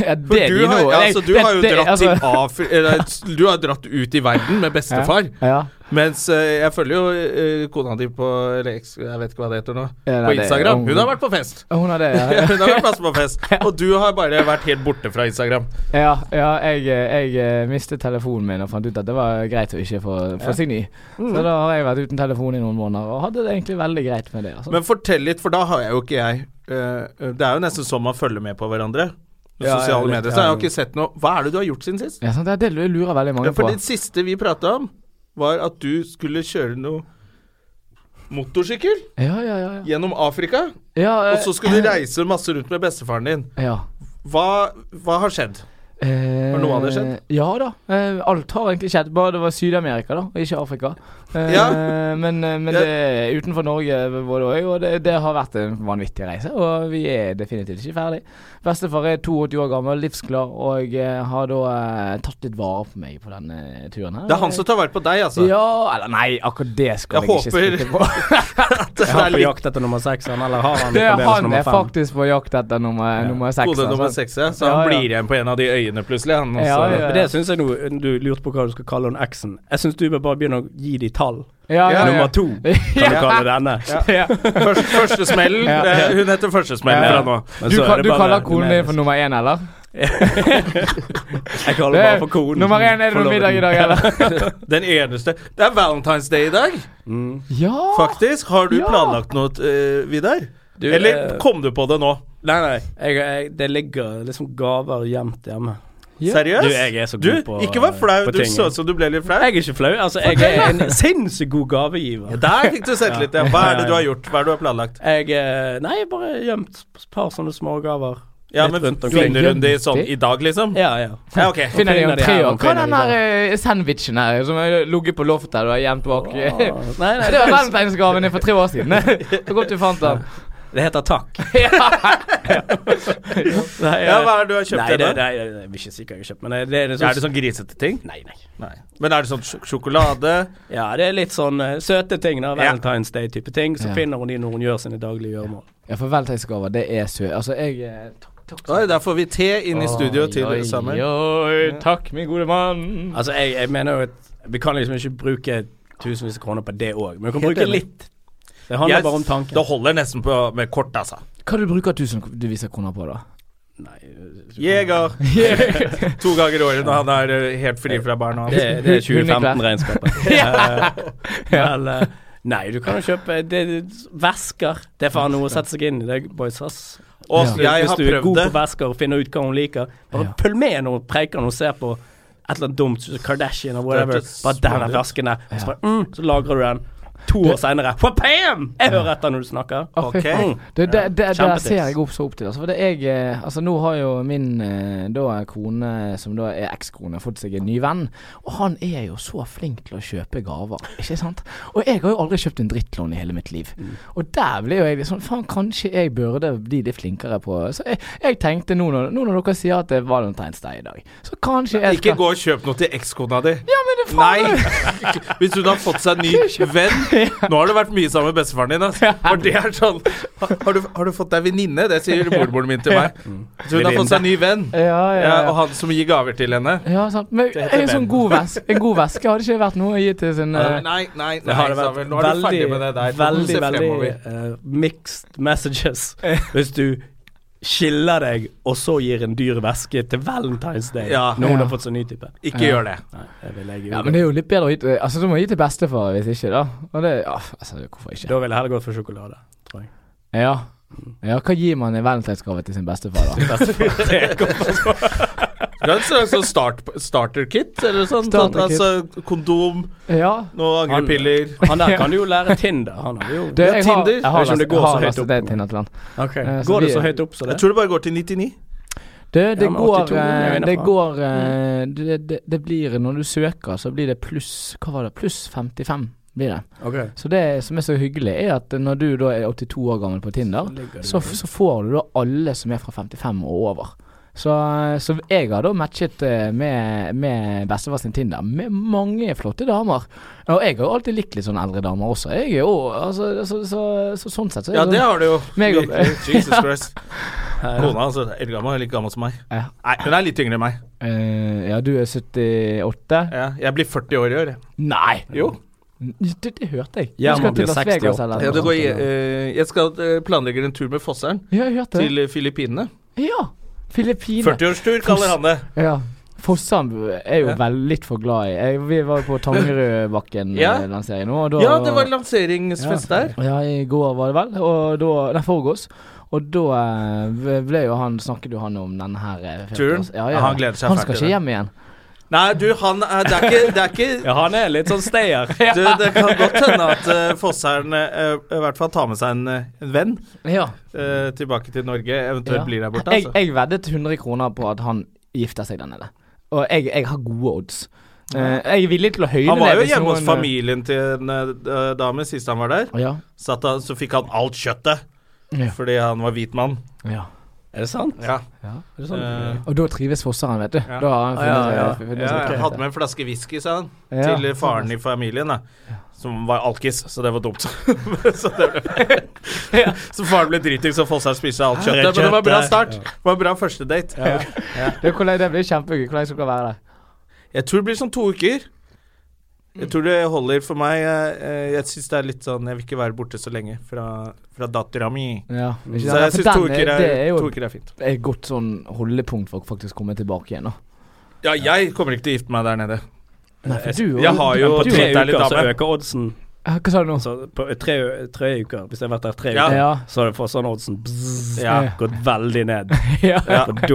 S4: Ja,
S1: For
S4: det er
S1: du
S4: de
S1: har,
S4: nå.
S1: ja,
S4: Jeg-
S1: altså, du
S4: det-
S1: har jo
S4: det-
S1: dratt
S4: altså-
S1: til Afri... Eller, du har dratt ut i verden med bestefar.
S4: Ja.
S1: Mens eh, jeg følger jo eh, kona di på eller, eks- Jeg vet ikke hva det heter nå.
S4: Ja, nei,
S1: På
S4: det er
S1: Instagram.
S4: ung.
S1: Hun har vært på fest.
S4: Hun har det,
S1: [laughs]
S4: ja.
S1: Hun har vært masse på fest. Og du har bare vært helt borte fra Instagram.
S4: ja, ja jeg, jeg eh, mistet telefonen min og fant ut at det var greit å ikke få, få signy.
S1: Mm.
S4: Så da har jeg vært uten telefon i noen måneder og hadde det egentlig veldig greit med det. Altså.
S1: Men fortell litt, for da har jeg jo ikke jeg eh, Det er jo nesten sånn man følger med på hverandre. Med
S2: Ja, ja,
S1: sosiale
S2: litt,
S1: medier.
S2: ja.
S1: Så jeg har ikke sett noe Hva er det du har gjort siden sist?
S4: ja, sant, det er det jeg lurer veldig
S1: Ja,
S4: mange på.
S1: for det siste vi prata om, var at du skulle kjøre noe motorsykkel
S4: Ja, ja, ja. ja.
S1: gjennom Afrika.
S4: ja eh,
S1: Og så skulle du reise masse rundt med bestefaren din.
S4: ja.
S1: Hva, hva har skjedd?
S4: Eh,
S1: noe av det skjedd?
S4: Ja da. Eh, alt har egentlig skjedd. Bare det var Syd-Amerika, da, og ikke Afrika. Eh,
S1: Ja.
S4: Men, eh, men
S1: Ja.
S4: det er utenfor Norge både og, og det, det har vært en vanvittig reise. Og vi er definitivt ikke ferdig. Bestefar er 82 år gammel, livsklar, og eh, har da eh, tatt litt vare på meg på denne turen her.
S1: Det er han som tar vare på deg, altså.
S4: Ja eller Nei, akkurat det skal
S1: Jeg
S4: jeg,
S1: håper-
S4: ikke skryte på.
S1: [laughs] det
S2: Er han
S1: er
S2: på
S1: litt
S2: jakt etter nummer seks, han, eller har han
S4: Det, er
S2: fremdeles
S4: han
S2: nummer
S4: er
S2: fem?
S4: faktisk på jakt etter nummer, nummer seks.
S1: kode nummer
S4: altså.
S1: seks, ja. Så han
S4: Ja, ja.
S1: blir igjen på en av de øyene plutselig. Han, og
S4: Ja,
S1: så-
S4: ja.
S2: Men det syns jeg nå Du lurte på hva du skal kalle den eksen. Jeg syns du bør bare begynne å gi de tall.
S4: Ja, ja, ja.
S2: Nummer to, kan du kalle denne.
S4: [laughs] Ja.
S1: Først, Førstesmellen. eh, Hun heter Førstesmellen
S2: Ja.
S1: fra nå.
S2: Men
S4: Du,
S2: så er
S4: kan,
S2: det
S4: du
S2: bare
S4: kaller konen din
S2: nummerisk.
S4: for nummer én, eller?
S2: [laughs] Jeg kaller det bare for konen.
S4: Eh, Nummer én, er det noe
S2: Forloveden.
S4: middag i dag, eller?
S1: Den eneste Det er Valentine's Day i dag,
S4: [laughs] ja!
S1: faktisk. Har du
S4: Ja.
S1: planlagt noe, eh, Vidar?
S2: Du,
S1: Eller
S2: eh,
S1: kom du på det nå?
S2: Nei, nei. Jeg, jeg, det ligger liksom gaver gjemt hjemme.
S4: Ja.
S1: Seriøst?
S2: Du, jeg er så god
S1: Du,
S2: på
S1: ikke vær flau.
S2: på
S1: Du
S2: ting.
S1: så ut som du ble litt flau.
S2: Jeg er ikke flau. Altså, jeg er en sinnssykt god gavegiver.
S1: Der fikk du sett litt. Ja. Hva er det du
S2: Ja,
S1: har
S2: ja.
S1: gjort? Hva er det du har planlagt?
S2: Jeg eh, Nei, jeg bare gjemt et par sånne smågaver.
S1: Ja,
S2: Litt
S1: men
S2: rundt omkring.
S1: Finner hun de sånn
S4: det.
S1: i dag, liksom?
S2: Ja, ja.
S1: Ja, ok.
S4: Finner de om
S2: Finner de
S4: tre
S2: her,
S4: år. Hva er
S2: finner
S4: den
S2: de
S4: der eh, sandwichen her som har ligget på loftet og er gjemt bak? [laughs]
S2: Åh,
S1: [laughs]
S2: Nei, nei,
S4: Ah. Det var valentinsgaven din for tre år [laughs] siden. Så godt du fant den.
S2: Det heter
S1: [laughs]
S2: takk. [laughs] Nei,
S1: Ja,
S2: eh,
S1: hva er det du har
S2: nei,
S1: kjøpt
S2: det,
S1: ennå?
S2: nei, jeg jeg vil ikke si hva jeg har kjøpt, men det, det er
S1: Er det
S2: sånn
S1: sånn grisete ting?
S2: Nei, nei.
S1: Men er det sånn sj- sjokolade?
S2: Ja, det er litt sånn eh, søte ting, da.
S1: Ja.
S2: Valentine's Day-type ting. Så
S4: Ja.
S2: finner hun de når hun gjør sine daglige gjøremål.
S4: Ja, for valentinsgaver, det er sø... Altså, jeg eh, takk- takk så-
S1: Oi, der får vi te inn i studio til
S4: Oi,
S1: Samuel.
S4: Oi, takk, min gode mann.
S2: Altså, jeg, jeg mener jo at vi kan liksom ikke bruke tusenvis av kroner på det òg, men vi kan
S1: Helt
S2: bruke
S1: enig.
S2: litt. Det handler
S1: Jeg-
S2: bare om tanken.
S1: Det holder nesten på med kort, altså.
S4: Hva du bruker tusenvis av kroner på, da?
S2: [laughs]
S1: Jeger. to ganger i året når han er eh, helt fri fra barna.
S2: Det,
S1: [laughs]
S2: det er
S4: Hundeklær.
S2: 2015-regnskapet. Eller eh, Nei, du kan jo kjøpe det, det, vesker. Det er faen noe å sette seg inn i, det, boys. ass.
S1: Og
S4: Ja.
S1: jeg
S2: Hvis
S1: har
S2: du er god
S1: prøvd det.
S2: på vesker og finner ut hva hun liker, bare
S4: Ja.
S2: følg med når hun preiker og ser på et eller annet dumt, Kardashian og whatever.
S1: Hørtes
S2: Bare den
S1: smart ut.
S2: der vesken der. Så, bare, mm, så lagrer du den. To år seinere. Wapam! Jeg hører etter når du snakker. Mm.
S4: Å, fy
S1: Ok.
S4: faen. Det, det, det, der
S2: Kjempetips.
S4: ser jeg opp så opp til. Altså, for det jeg, eh, altså, nå har jo min eh, da, kone, som da er ekskone, fått seg en ny venn. Og han er jo så flink til å kjøpe gaver, ikke sant? Og jeg har jo aldri kjøpt en drittlån i hele mitt liv.
S1: Mm.
S4: Og der ble jo jeg litt sånn Faen, kanskje jeg burde bli litt flinkere på Så jeg, jeg tenkte nå når, nå når dere sier at det er valentinsdag i dag, så kanskje jeg
S1: Ikke
S4: skal
S1: gå og kjøp noe til ekskona di.
S4: Ja, men det faen
S1: Nei! [laughs] Hvis hun har fått seg
S2: [laughs]
S1: ny venn Nå har du vært mye sammen med bestefaren din. ass. For det er sånn Har du, har du fått deg venninne? Det
S2: [laughs]
S1: sier mormoren min til meg.
S2: Mm.
S1: Så hun har fått seg ny venn.
S4: Ja, ja,
S1: Ja,
S4: ja.
S1: og han som gir gaver til henne.
S4: Ja, sant. Men en sånn god veske, en god veske hadde ikke vært noe å gi til sin
S1: Nei,
S4: eh,
S1: nei, nei,
S2: Det har det
S1: Samuel.
S2: vært
S1: Nå er du
S2: veldig,
S1: ferdig med det der. Nå må du
S2: veldig,
S1: se
S2: veldig
S1: fremover.
S2: eh, mixed
S1: [laughs]
S2: messages hvis du skiller deg, og så gir en dyr veske til Valentine's Day
S1: Ja.
S2: når hun
S4: Ja.
S2: har fått seg ny type.
S1: Ikke gjør det.
S2: Nei, det vil jeg
S4: Ja,
S2: gjøre.
S4: men det er jo litt bedre å gi til Altså, du må gi til bestefar hvis ikke, da. Og det Ja, altså, hvorfor ikke?
S2: Da vil jeg heller gå for sjokolade,
S1: [laughs]
S2: tror jeg.
S4: Ja. Ja, hva gir man i valentinsgave til sin
S2: [laughs]
S4: bestefar, da?
S1: Det er en slags sånn start, starter kit, eller sånn.
S4: Starter
S1: sånn,
S4: kit.
S1: Altså kondom,
S4: Ja.
S1: noen [laughs] angrepiller
S2: Han der kan jo lære Tinder, han har jo
S4: Du, jeg har,
S1: Tinder.
S4: jeg har
S2: Vet ikke om det
S4: lastet-
S2: går så
S4: jeg har
S2: høyt
S4: lastet
S2: opp.
S4: ned Tinderland.
S2: Ok.
S4: Eh, så
S2: Går det
S4: vi-
S2: så høyt opp så det?
S1: Jeg tror det bare går til 99.
S4: Det, det
S2: men
S4: går
S2: 82 er jo
S4: eh,
S2: innenfor.
S4: Det går eh,
S2: Mm.
S4: det, det, det blir Når du søker, så blir det pluss Hva var det? Pluss 55 blir det.
S2: Ok.
S4: Så det som er så hyggelig, er at når du da er 82 år gammel på Tinder, så, så får du da alle som er fra 55 og over. Så, så jeg har da matchet eh, med, med bestefar sin Tinder med mange flotte damer. Og jeg har jo alltid likt litt sånn eldre damer også. Jeg er jo, altså, så, så, så, sånn sett så er
S1: Ja,
S4: jeg
S1: det
S4: sånn-
S1: har du jo.
S4: Meg og-
S1: Virkelig. Jesus
S4: [laughs]
S1: Christ. Kona altså, er eldgammel, er like gammel som meg.
S4: Ja.
S1: Nei, hun er litt yngre enn meg.
S4: Eh, ja, du er 78?
S1: Ja, jeg blir 40 år i år. jeg.
S4: Nei!
S1: Jo.
S4: Det, det hørte jeg.
S2: Ja,
S4: Du skal
S2: man blir
S4: til Las
S2: 68.
S4: Vegas eller
S1: Ja, det går, i-
S4: noe sånt,
S1: eh, jeg skal eh, planlegge en tur med Fosseren
S4: Ja, jeg hørte det.
S1: til eh, Filippinene.
S4: Ja! Filippinene.
S1: 40-årstur kaller han det.
S4: Ja. Fossan er jo
S1: Ja.
S4: vel litt for glad i jeg, Vi var jo på
S1: [laughs]
S4: Tangerudbakken
S1: Ja.
S4: eh, lansering nå. Og da,
S1: Ja, det var lanseringsfest der.
S4: Ja, i går var det vel. Og da Nei, foregås. Og da eh, ble jo han Snakket jo han om denne her eh,
S1: Turen?
S4: 40-års- Ja,
S1: Ja,
S4: ja.
S1: han gleder seg
S4: Han
S1: fælt
S4: skal
S1: til det.
S4: ikke hjem igjen.
S1: Nei, du, han er Det er ikke, det er ikke
S2: Ja, han er litt sånn stayer.
S1: [laughs] du, Det kan godt hende at eh, Fosseren eh, i hvert fall tar med seg en, eh, en venn
S4: Ja.
S1: eh, tilbake til Norge. Eventuelt
S4: ja.
S1: blir der borte,
S4: Jeg,
S1: altså.
S4: jeg veddet 100 kroner på at han gifter seg der nede. Og jeg, jeg har gode odds. Eh, jeg er villig til å høyne det.
S1: Han var jo
S4: hvis
S1: hjemme hos
S4: noen-
S1: familien til en eh, dame sist han var der.
S4: Ja.
S1: Satt han, så fikk han alt kjøttet
S4: Ja.
S1: fordi han var hvit mann.
S4: ja.
S2: Er det sant?
S1: Ja.
S2: Er det sant?
S1: Eh,
S4: Og da trives fosseren, vet du. Da har han
S1: Ah, ja,
S4: funnet,
S1: ja.
S4: funnet
S1: ja,
S4: seg til
S1: jeg
S4: rette.
S1: hadde med en flaske whisky, sa han,
S4: Ja.
S1: til faren i familien, da. Som var alkis, så det var dumt. [laughs] så, det ble... [laughs] så faren ble dritings, så Fossheim spiste alt kjøttet. Men det var bra start. Det var bra første date.
S4: Det, hvordan- det blir kjempegøy. Hvordan skal dere være der?
S1: Jeg tror det blir sånn to uker. Jeg tror det holder for meg. eh, eh, Jeg syns det er litt sånn Jeg vil ikke være borte så lenge fra, fra dattera mi.
S4: Ja,
S1: Så jeg syns to, uker
S4: det er
S1: er-
S4: jo
S1: to uker er fint.
S4: et godt sånn holdepunkt for å faktisk komme tilbake igjen. Da.
S1: Ja, jeg kommer ikke til å gifte meg der nede.
S4: Nei, for du,
S1: Jeg har jo
S2: På
S1: Du
S2: tre
S1: er litt
S2: uker så
S1: dame.
S2: øker oddsen.
S4: Ja, Hva sa du nå?
S2: Så Altså, på tre, tre uker, hvis jeg har vært der tre
S1: Ja.
S2: uker,
S4: Ja.
S2: så har du fått sånn oddsen bzzz,
S1: Ja.
S2: gått veldig ned.
S4: [laughs] Ja.
S1: Ja.
S2: For da,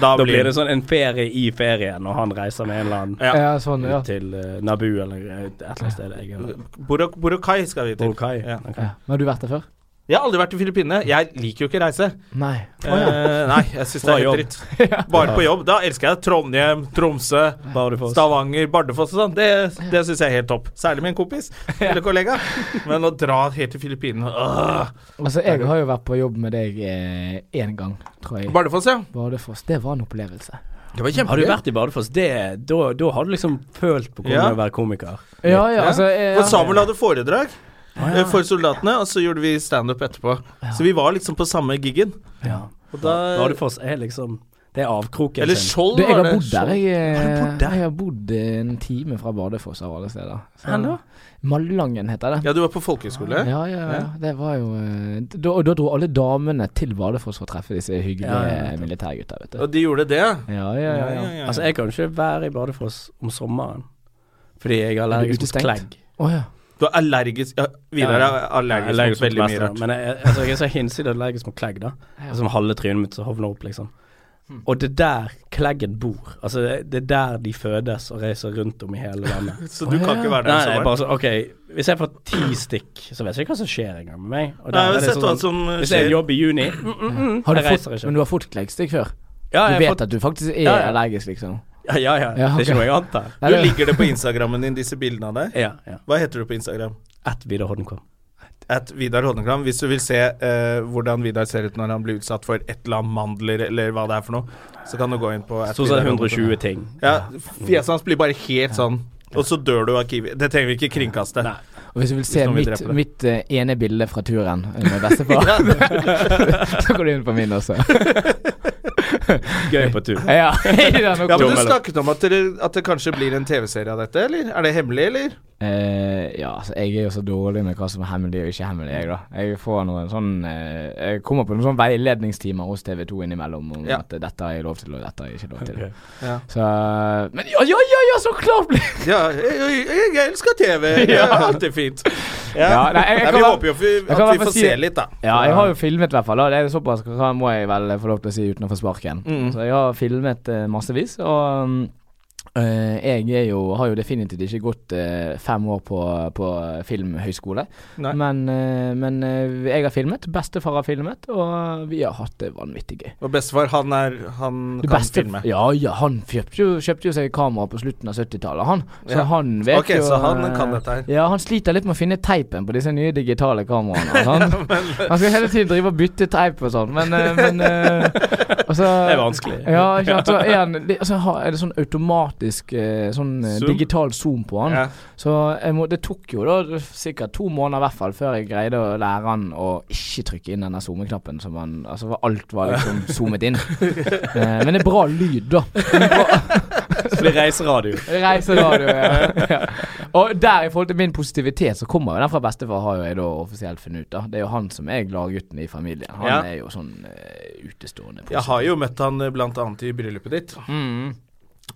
S1: Da
S2: da
S1: blir-
S2: blir det sånn en ferie i ferien, når han reiser med en eller annen
S1: Ja.
S4: ja, sånn, ja.
S2: ut til eh, Nabu eller eh, et eller annet sted. Jeg,
S1: Borok- Boracay skal vi til.
S2: Boracay.
S1: Ja.
S4: ja. Men har du vært der før?
S1: Jeg har aldri vært i Filippinene. Jeg liker jo ikke reise.
S4: Nei.
S1: Eh, nei, jeg syns det er
S2: Fra
S1: helt
S4: [laughs]
S1: dritt. Bare på jobb. Da elsker jeg Trondheim, Tromsø,
S2: bare for oss.
S1: Stavanger, Bardufoss og sånn. Det, det syns jeg er helt topp. Særlig med en
S4: [laughs]
S1: kompis eller kollega. Men å dra helt til Filippinene øh.
S4: Altså, jeg har jo vært på jobb med deg eh, én gang, tror jeg.
S1: Bardufoss, ja.
S4: Bardufoss. Det var en opplevelse.
S2: Har du vært i Bardufoss? Det, da, da har du liksom følt på hvordan
S1: Ja.
S2: det er å være komiker.
S4: Ja, ja,
S1: Ja.
S4: altså eh,
S1: For Samuel hadde foredrag eh, for soldatene, og så gjorde vi standup etterpå. Så vi var liksom på samme giggen.
S2: Ja.
S1: Og da
S2: Bardufoss er liksom Det er avkroken
S1: Eller
S2: sin.
S1: Skjold,
S4: du, jeg
S1: var
S4: har
S1: det.
S4: bodd der, jeg. eh,
S2: Har du bodd der?
S4: Jeg har bodd en time fra Bardufoss av alle steder. Så-
S2: Hvor da?
S4: Malangen heter det.
S1: Ja, du var på folkehøyskole?
S4: Ja, ja, ja. Det var jo eh, da, Og da dro alle damene til Bardufoss for å treffe disse hyggelige
S2: Ja, ja, nettopp.
S4: militærgutta, vet du.
S1: Og de gjorde det?
S4: Ja, ja, ja. ja.
S2: Altså, jeg kan ikke være i Bardufoss om sommeren fordi jeg er
S4: Er du
S2: allergisk mot
S4: utestengt?
S2: klegg.
S4: Å ja.
S1: Du er allergisk ja, Vidar er
S2: Jeg er
S1: allergisk mot veldig mye
S2: plast,
S1: rart.
S2: Men jeg, jeg- altså, jeg er så hinsides allergisk mot klegg, da. Altså, Som halve trynet mitt som hovner opp, liksom.
S4: Hm.
S2: Og det der kleggen bor. Altså, det- det er der de fødes og reiser rundt om i hele
S1: [laughs]
S2: landet.
S1: Så du kan ikke være der
S2: Nei, jeg
S1: i
S2: er bare
S1: sommer?
S2: sånn, OK, hvis jeg får ti stikk, så vet jeg ikke hva som skjer engang med meg. Og der
S1: Nei, jeg
S2: er
S1: har
S2: det sånn
S1: sett hva som eh,
S2: hvis jeg
S1: skjer.
S2: jobber i juni mm, mm, mm,
S4: Har du
S2: Jeg reiser
S4: fått,
S2: ikke.
S4: men du har fått kleggstikk før?
S2: ja,
S4: Du
S2: jeg
S4: vet
S2: får-
S4: at du faktisk er
S2: Ja, ja.
S4: allergisk, liksom?
S2: [laughs] ja, ja, ja,
S4: Ja,
S2: Det er
S4: ok.
S2: ikke noe jeg antar.
S4: Nei,
S1: Du
S4: det-
S1: ligger det på Instagrammen din, disse bildene av deg?
S2: Ja, ja.
S1: Hva heter du på Instagram?
S2: At Vidar Hodnekvam.
S1: At Vidar Hodnekvam. Hvis du vil se eh, hvordan Vidar ser ut når han blir utsatt for et eller annet mandler eller hva det er for noe, så kan du gå inn på at
S2: Stort sett
S1: Vidar Hodnekvam.
S2: 120 ting.
S1: Ja, fjeset hans blir bare helt sånn, og så dør du av kiwi. Det trenger vi ikke kringkaste.
S2: Nei.
S4: Og hvis du vil se
S1: noen vil
S4: mitt,
S1: drepe deg.
S4: mitt eh, ene bilde fra turen eh, med bestefar, [laughs] så går du inn på min også.
S2: Gøy på tur.
S4: Ja, [laughs] det er nok
S1: Ja, men
S4: dumt.
S1: Du snakket om at, dere, at det kanskje blir en TV-serie av dette, eller? Er det hemmelig, eller?
S4: Eh, ja, altså, jeg er jo så dårlig med hva som er hemmelig og ikke hemmelig, jeg, da. Jeg får noen sånn eh, Jeg kommer på noen sånne veiledningstimer hos TV2 innimellom om
S1: Ja.
S4: at eh, dette har jeg lov til, og dette har jeg ikke lov til.
S2: Ok.
S1: Ja.
S4: Så Men ja, ja, ja, ja så klart blir
S1: Ja, jeg, jeg, jeg elsker [laughs] TV. Det er alltid fint. Ja.
S4: Ja, nei, jeg- jeg
S1: vi
S4: kan-
S1: håper jo vi-
S4: kan
S1: at vi
S4: hvertfall
S1: får
S4: si-
S1: se litt, da.
S4: Ja, jeg har jo filmet i hvert fall. Og det er såpass hva må jeg vel få lov til å si uten å få sparken.
S1: Mm.
S4: Så jeg har filmet eh, massevis, og mm, eh, jeg er jo, har jo definitivt ikke gått eh, fem år på, på filmhøyskole.
S1: Nei.
S4: Men, eh, men eh, jeg har filmet, bestefar har filmet, og vi har hatt det vanvittig gøy.
S1: Og bestefar, han er Han
S4: Det
S1: kan
S4: beste-
S1: filme.
S4: Ja, ja, han kjøpte jo, kjøpte jo seg kamera på slutten av 70-tallet, han. Så
S1: Ja.
S4: han vet
S1: Ok,
S4: jo
S1: så han
S4: eh,
S1: kan dette her.
S4: Ja, han sliter litt med å finne teipen på disse nye digitale kameraene.
S1: [laughs]
S4: Han, han skal hele tiden drive og bytte teip og sånn, men, eh, men
S1: [laughs]
S4: eh, altså,
S2: Det er vanskelig.
S4: Ja, ikke sant. Så er, han, det, altså, har- er det sånn automatisk eh, sånn eh,
S1: Zoom?
S4: digital zoom på han.
S1: Ja.
S4: Så jeg må, det tok jo da sikkert to måneder i hvert fall før jeg greide å lære han å ikke trykke inn denne zoomeknappen som han Altså hvor alt
S1: [laughs]
S4: var liksom zoomet inn. Eh, Men det er bra lyd, da.
S2: Så det er reiseradio.
S1: [laughs]
S4: Reiseradio, ja. ja. Og der i forhold til min positivitet, så kommer jo den fra bestefar, har jo jeg da offisielt funnet ut, da. Det er jo han som er gladgutten i familien. Han
S1: Ja.
S4: er jo sånn eh, utestående positiv.
S1: Jeg har jo møtt han eh, blant annet i bryllupet ditt.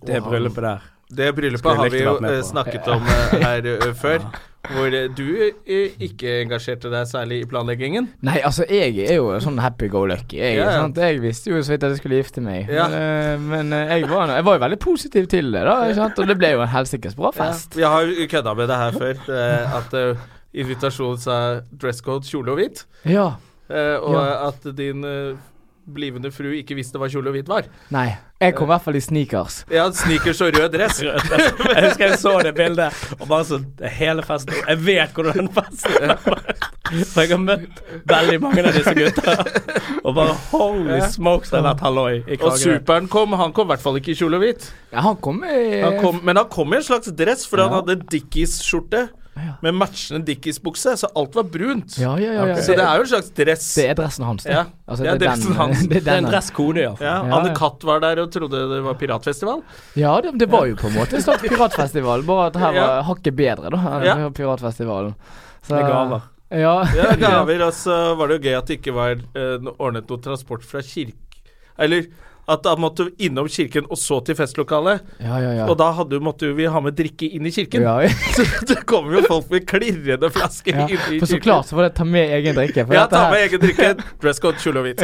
S2: Det bryllupet der.
S1: Det bryllupet
S2: Skulle
S1: har
S2: likt
S1: vi
S2: å
S1: jo
S2: vært med
S1: eh,
S2: på.
S1: snakket om eh, her eh,
S4: [laughs]
S1: før. Hvor eh, du eh, ikke engasjerte deg særlig i planleggingen.
S4: Nei, altså, jeg er jo sånn happy go lucky. Jeg,
S1: Ja, ja.
S4: sant? jeg visste jo så vidt at jeg skulle gifte meg.
S1: Ja.
S4: Men, eh, men eh, jeg, var, jeg var jo veldig positiv til det, da. Ikke sant? Og det ble jo en helsikes bra fest.
S1: Jeg har jo kødda med det her før. eh, At eh, invitasjonen sa dress code kjole og hvit.
S4: Ja.
S1: Eh, og
S4: Ja.
S1: at din eh, blivende fru ikke visste hva kjole og hvitt var.
S4: Nei. Jeg kom i hvert fall i sneakers.
S1: Ja, sneakers og rød dress.
S2: Jeg husker jeg så det bildet, og bare så hele festen Jeg vet hvordan den festen er. For jeg har møtt veldig mange av disse gutta. Og bare holy smokes, det har vært halloi i
S1: Og
S2: Kragerø.
S1: superen kom. Han kom i hvert fall ikke i kjole og hvitt.
S4: Ja, han kom i
S1: Han kom, men han kom i en slags dress, for han
S4: Eh. Ja.
S1: hadde Dickies-skjorte
S4: Ja.
S1: med matchende Dickies-bukse, så alt var brunt.
S4: Ja, ja, ja. ja.
S1: Så det er jo en slags dress.
S4: det er dressen hans. det.
S1: Ja,
S4: Altså,
S1: det er dressen hans.
S4: [laughs] Det er
S2: Det er en
S4: den, han-
S2: dresskode, iallfall.
S1: Ja,
S4: Ja,
S1: Anne
S4: ja.
S1: Katt var der og trodde det var piratfestival.
S4: Ja, det, det var jo på en måte en slags piratfestival, bare at her var
S1: Ja.
S4: hakket bedre, da. enn
S1: Ja.
S4: Piratfestivalen. Så-
S2: Med gaver.
S4: [laughs] Ja.
S1: Ja, gaver, og så altså, var det jo gøy at det ikke var eh, no- ordnet noe transport fra kirk... Eller at han måtte innom kirken og så til festlokalet.
S4: ja, ja, ja.
S1: Og da hadde, jo- måtte jo vi ha med drikke inn i kirken. [laughs]
S4: ja.
S1: Så det kom jo folk med klirrende flasker
S4: ja.
S1: inn i kirken.
S4: For så klart så var det ta med egen drikke. For
S1: Ja,
S4: dette
S1: ta
S4: her-
S1: med egen drikke.
S4: [laughs]
S1: Dress code, kjole og hvitt.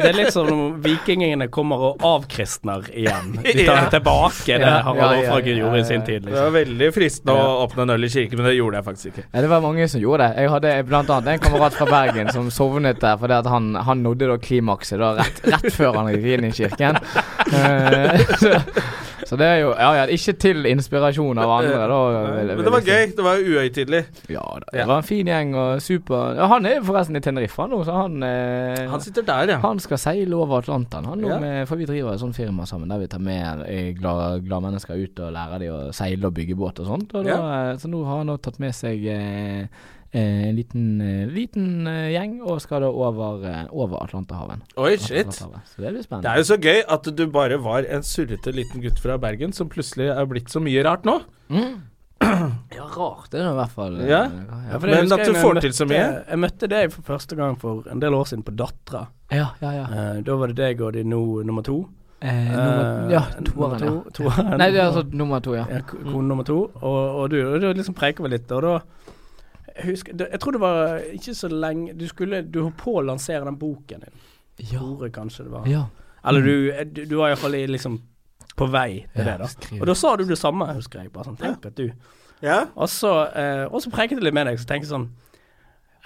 S2: Det er litt som om vikingene kommer og avkristner igjen. De tar
S1: Ja.
S2: det tilbake, det
S4: Ja,
S2: Harald
S4: ja, ja,
S2: Hårfagre
S4: ja,
S2: gjorde i
S4: ja,
S2: sin
S4: ja.
S2: tid.
S1: Det var
S2: Liksom.
S1: veldig fristende å åpne en øl i kirken, men det gjorde jeg faktisk ikke.
S4: Ja, det var mange som gjorde det. Jeg hadde blant annet en kamerat fra Bergen som sovnet der fordi at han, han nådde da klimakset da rett, rett før han gikk inn i kirken. Eh, [laughs] så, så det er jo Ja, ja, ikke til inspirasjon av andre, da. vil-
S1: Eh, Men
S4: vil
S1: det var
S4: jeg si.
S1: gøy. Det var jo uhøytidelig.
S4: Ja da.
S1: Ja.
S4: Det var en fin gjeng og super ja, Han er forresten i Tenerife nå, så han eh,
S1: Han sitter der, ja.
S4: han skal seile over Atlanteren, han, nå
S1: Ja.
S4: med, for vi driver et sånt firma sammen der vi tar med eh, glade, glade mennesker ut og lærer dem å seile og bygge båt og sånt. Og da, eh, Så nå har han nå tatt med seg eh, eh, en liten, eh, liten eh, gjeng og skal da over, eh, over Atlanterhaven.
S1: Oi, shit.
S4: Atlanterhavet. Så det blir
S1: Det
S4: spennende.
S1: er jo så gøy at du bare var en surrete liten gutt fra Bergen som plutselig er blitt så mye rart nå.
S4: ja, rart det er det i hvert fall. eh,
S1: Ja.
S4: ja, for det-
S1: Men at du får til så mye.
S2: liksom. Jeg møtte deg for første gang for en del år siden på Dattera.
S4: ja, ja. ja.
S2: Eh, da var det deg og de nå nummer to.
S4: Eh, nummer,
S2: Eh,
S4: ja,
S2: nummer
S4: toeren, ja.
S2: to- toeren.
S4: Nei, det er altså nummer to, ja.
S2: Ja, k- kone nummer to. Og, og du, og du liksom preiker vel litt, og da jeg, husker, det- jeg tror det var ikke så lenge Du skulle Du holdt på å lansere den boken din.
S4: Ja.
S2: Tore, kanskje det var.
S4: ja.
S2: Eller du, du, du var iallfall liksom på vei til
S4: Ja,
S2: det, da.
S4: skriv.
S2: Og da sa du det samme, husker jeg. Bare sånn Tenk at du
S1: Ja.
S2: Og så, eh, og så preiket jeg litt med deg, så tenkte jeg sånn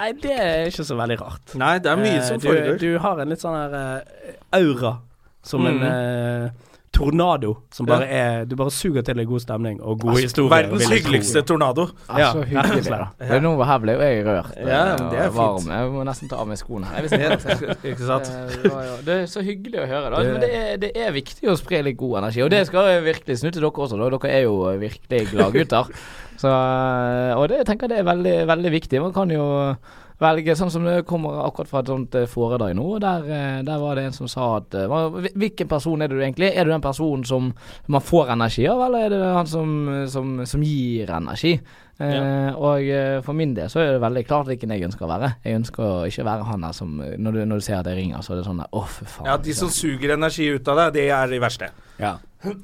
S2: Nei, det er ikke så veldig rart.
S1: Nei, det er mye
S2: Eh,
S1: som
S2: du,
S1: foregår.
S2: Du har en litt sånn her eh, aura som
S1: Mm.
S2: en eh, tornado som bare er Du bare suger til deg god stemning og gode historier.
S1: Altså, Verdens
S2: vil jeg tro.
S1: hyggeligste tornado.
S2: Ja,
S4: så
S2: rett og
S4: hyggelig.
S2: slett.
S4: Det er noe her ble jo jeg rørt.
S1: Ja,
S4: eh,
S1: men det er
S4: og varm.
S1: fint.
S4: Jeg må nesten ta av meg skoene. her. Jeg visste ikke hva jeg skulle-
S1: Ikke sant?
S4: Eh, ja, ja. Det er så hyggelig å høre. Da. Men det er, det er viktig å spre litt god energi, og det skal jeg virkelig snu til dere også. Da. Dere er jo eh, virkelig
S1: [laughs]
S4: gladgutter. Så, eh, Og det jeg tenker jeg er veldig, veldig viktig. Man kan jo velge sånn som det kommer akkurat fra et sånt eh, foredrag nå. og Der, eh, der var det en som sa at eh, hva- Hvilken person er du egentlig? Er du den personen som man får energi av, eller er det han som, som, som gir energi? Eh, Og eh, for min del så er det veldig klart hvilken jeg ønsker å være. Jeg ønsker å ikke være han der som eh, Når du, når du ser at jeg ringer, så er det sånn der Å, fy faen.
S1: Ja, de som suger energi ut av deg, det er de verste.
S2: Ja.
S1: [clears throat] Det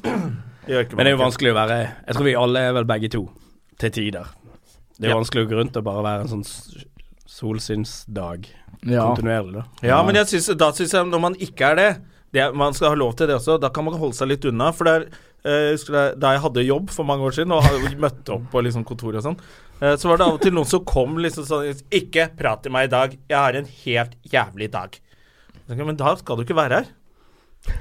S1: gjør ikke
S2: Men det er jo
S1: meg.
S2: vanskelig å være Jeg tror vi alle er vel begge to, til tider. Det er jo
S1: Ja.
S2: vanskelig å gå rundt og bare være en sånn s- solsynsdag
S4: Ja.
S2: kontinuerlig, da.
S1: Ja, men jeg synes, da syns jeg når man ikke er det, det er- Man skal ha lov til det også. Da kan man holde seg litt unna. For det er, eh, jeg husker det- da jeg hadde jobb for mange år siden og hadde- møtte opp på liksom kontoret og sånn, eh, så var det av og til noen som kom liksom sånn Ikke prat til meg i dag. Jeg har en helt jævlig dag. Jeg tenker, Men da skal du ikke være her.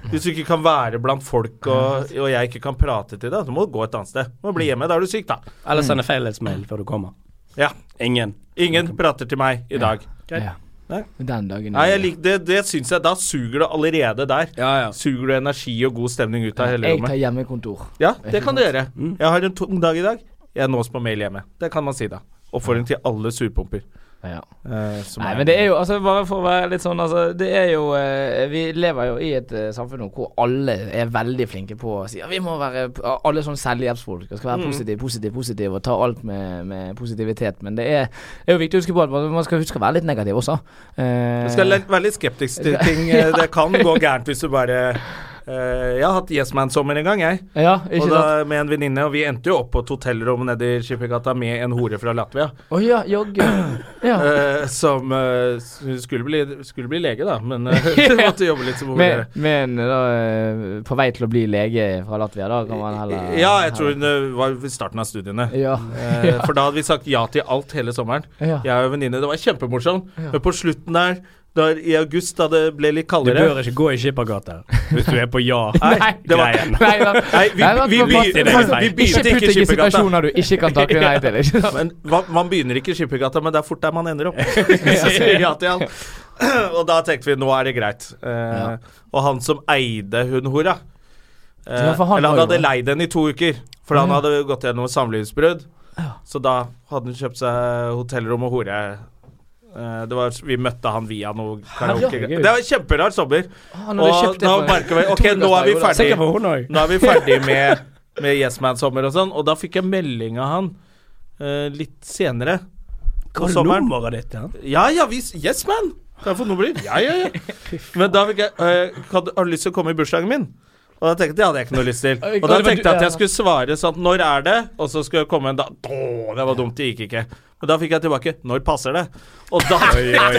S1: Hvis du ikke kan være blant folk og, og jeg ikke kan prate til deg, så må du gå et annet sted. Du må bli hjemme. Da er du syk, da.
S2: Eller sende feilhetsmail før du kommer.
S1: Ja.
S2: Ingen.
S1: Mm. Ingen prater til meg i dag.
S4: ja.
S1: Nei.
S4: Den dagen
S1: Nei, jeg lik, det, det syns jeg. Da suger det allerede der.
S2: Ja, ja.
S1: Suger du energi og god stemning ut av hele
S4: Jeg tar
S1: rommet?
S4: hjemmekontor.
S1: Ja, det kan du gjøre. Jeg har en tung dag i dag. Jeg nås på mail hjemme. Det kan man si, da. Oppfordring til alle surpumper.
S4: Ja.
S1: eh, som
S4: Nei, men det er jo altså Bare for å være litt sånn, altså. Det er jo eh, Vi lever jo i et eh, samfunn nå hvor alle er veldig flinke på å si ja, vi må være p- Alle sånn selvhjelpsfolk og skal
S1: Mm.
S4: være positive, positive, positive og ta alt med, med positivitet. Men det er, det er jo viktig å huske på at man man skal huske å være litt negativ også. Eh,
S1: Du skal le- være litt skeptisk
S4: [laughs]
S1: til ting. eh, Det kan gå gærent hvis du bare eh, Jeg har hatt Yes Man-sommer en gang, jeg.
S4: ja, ikke
S1: Og
S4: sant?
S1: da med en venninne, og vi endte jo opp på et hotellrom nede i Skippergata med en hore fra Latvia.
S4: Å ja, jogge.
S1: [coughs]
S4: [laughs] Ja.
S1: eh, som eh, s- skulle, bli, skulle bli lege, da, men eh, [laughs] måtte jobbe litt som hore.
S4: Men, men da, eh, på vei til å bli lege fra Latvia, da kan man heller
S1: Ja, jeg tror hun eh, var ved starten av studiene.
S4: Ja.
S1: Eh, For da hadde vi sagt ja til alt hele sommeren.
S4: Ja.
S1: Jeg og en venninne. Det var kjempemorsomt. Men på slutten der, da, i august, da det ble litt
S2: Du
S1: kaldere
S2: bør ikke gå i skippergata hvis du er på
S1: [laughs] Nei, det var-
S2: ja-greien.
S4: Nei, da,
S1: Nei, vi-
S4: Nei, da-
S1: vi- vi-
S4: Martin,
S2: vi-
S4: altså,
S2: vi
S1: begynte
S4: Ikke
S1: ikke
S4: putt deg i
S1: Skippergata.
S4: situasjoner du ikke kan takke nei til. Ikke sant?
S1: Men hva- man begynner ikke i Skippergata, men det er fort der man ender
S4: [laughs]
S1: opp. Så sier jeg ja til han. Og da tenkte vi nå er det greit. Eh, Og han som eide hun hora eh,
S4: Ja, for han
S1: Eller han
S4: var jo-
S1: hadde leid henne i to uker, for han hadde gått gjennom samlivsbrudd. Så da hadde han kjøpt seg hotellrom og hore. Eh, Det var, vi møtte han via noe karaoke.
S4: Herregud.
S1: Det var en kjemperar sommer.
S4: Ah, når du
S1: Og
S4: kjøpte
S1: nå
S4: for-
S1: merker
S4: [laughs]
S1: vi Ok, nå er vi
S4: Torgallsdag,
S1: ferdig.
S2: Sikkert for hun òg.
S1: Nå er vi ferdig med, med Yes Man Sommer og sånn, og da fikk jeg melding av han eh, litt senere. På
S2: Hva er
S1: sommeren.
S2: nummeret ditt? Ja?
S1: Ja, ja, vi, Yes Man! Kan jeg få nummeret ditt? Ja, ja, ja. Men da fikk jeg eh, kan, du- Har du lyst til å komme i bursdagen min? Og da tenkte jeg, Det hadde jeg ikke noe lyst til. Og da tenkte jeg at jeg skulle svare sånn Når er det? Og så skulle jeg komme en dag Åh, det var dumt, det gikk ikke. Men da fikk jeg tilbake Når passer det? Og da,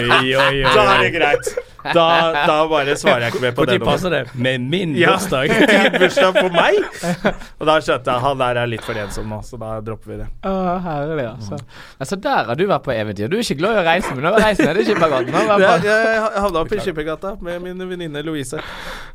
S1: da er det greit. Da, da bare svarer jeg ikke mer på det.
S2: Når passer det? Med min
S1: Ja.
S2: bursdag?
S1: [laughs] Din bursdag for meg? Og da skjønte jeg han der er litt for ensom nå, så da dropper vi det.
S4: Å, herlig, altså. Altså, der har du vært på eventyr. Du er ikke glad i å reise, men nå reiser jeg til Skippergaten. Nå var
S1: Jeg,
S4: jeg på-
S1: jeg havna opp i Skippergata med min venninne Louise.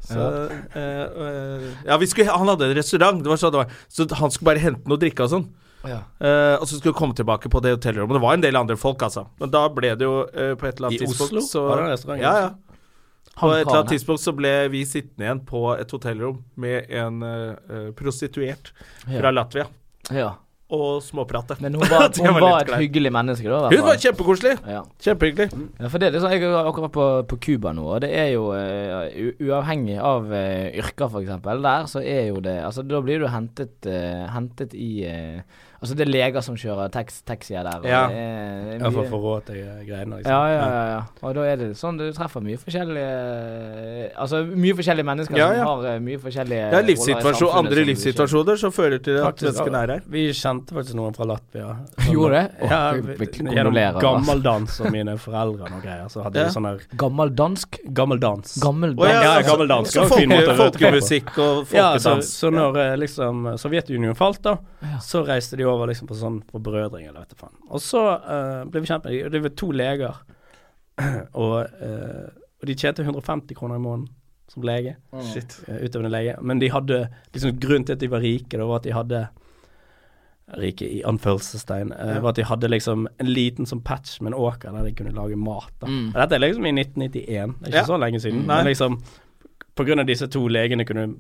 S1: Så, eh, eh, ja, vi skulle, han hadde en restaurant, det var sånn det var. Så han skulle bare hente noe å drikke og sånn.
S4: Ja.
S1: Eh, og så skulle vi komme tilbake på det hotellrommet. Det var en del andre folk, altså. Men da ble det jo eh, på et eller annet
S2: I
S1: tidspunkt
S2: Oslo?
S1: Så,
S2: Var det en restaurant i
S1: ja,
S2: Oslo?
S1: ja. På et eller
S4: karen
S1: annet
S4: her.
S1: tidspunkt så ble vi sittende igjen på et hotellrom med en eh, eh, prostituert
S4: Ja.
S1: fra Latvia.
S4: Ja.
S1: og småprate.
S4: Men hun var,
S1: [laughs] Det
S4: hun var
S1: litt
S4: et
S1: greit.
S4: hyggelig menneske, da. i hvert
S1: Hun var
S4: fall.
S1: kjempekoselig.
S4: ja.
S1: Kjempehyggelig.
S4: Ja, for det, er litt sånn, Jeg er akkurat på, på Cuba nå, og det er jo eh, u- uavhengig av eh, yrker, f.eks. Der så er jo det Altså, da blir du hentet, eh, hentet i eh, Altså, det er leger som kjører tax, taxier der. Og
S1: Ja.
S4: Det er,
S2: Jeg får forrådt de greiene. Liksom.
S4: ja, ja, ja, ja. Og da er det sånn, du treffer mye forskjellige Altså mye forskjellige mennesker
S1: Ja, ja.
S4: som har eh, mye forskjellige
S1: Det er
S4: roller i
S1: livssituasjon,
S4: samfunnet
S1: andre
S4: som du
S1: livssituasjoner som fører til at
S2: Faktisk,
S1: menneskene er her.
S2: Vi kjente faktisk noen fra Latvia.
S4: ikke- [laughs] Gjorde det?
S2: Ja,
S4: Åh,
S2: vi-
S4: vi- vi
S2: gjennom
S4: kondolerer, altså.
S2: gammeldans og mine foreldre og noe greier. Så hadde
S1: Ja.
S2: vi sånn her
S4: Gammeldansk?
S2: gammeldans.
S4: Gammeldansk?
S1: Å,
S2: Ja,
S1: altså,
S2: gammeldansk
S1: så
S2: er en fin
S1: folke-
S2: måte å røpe på.
S1: Folkemusikk og
S2: Ja, så,
S1: folkedans.
S2: så når eh, liksom eh, Sovjetunionen falt, da, så reiste de over liksom på sånn forbrødring eller vet du faen. Og så eh, ble vi kjent med dem, og det var to leger. [clears throat] og, eh, og de tjente 150 kroner i måneden som lege. Shit. eh, utøvende lege. Men de hadde liksom grunnen til at de var rike, da, var at de hadde Rike i anførselstegn. eh, Var at de hadde liksom en liten sånn patch med en åker der de kunne lage mat. da. Og Dette er liksom i 1991, det er ikke
S1: Ja.
S2: så lenge siden.
S1: Nei.
S2: Men liksom på grunn av disse to legene kunne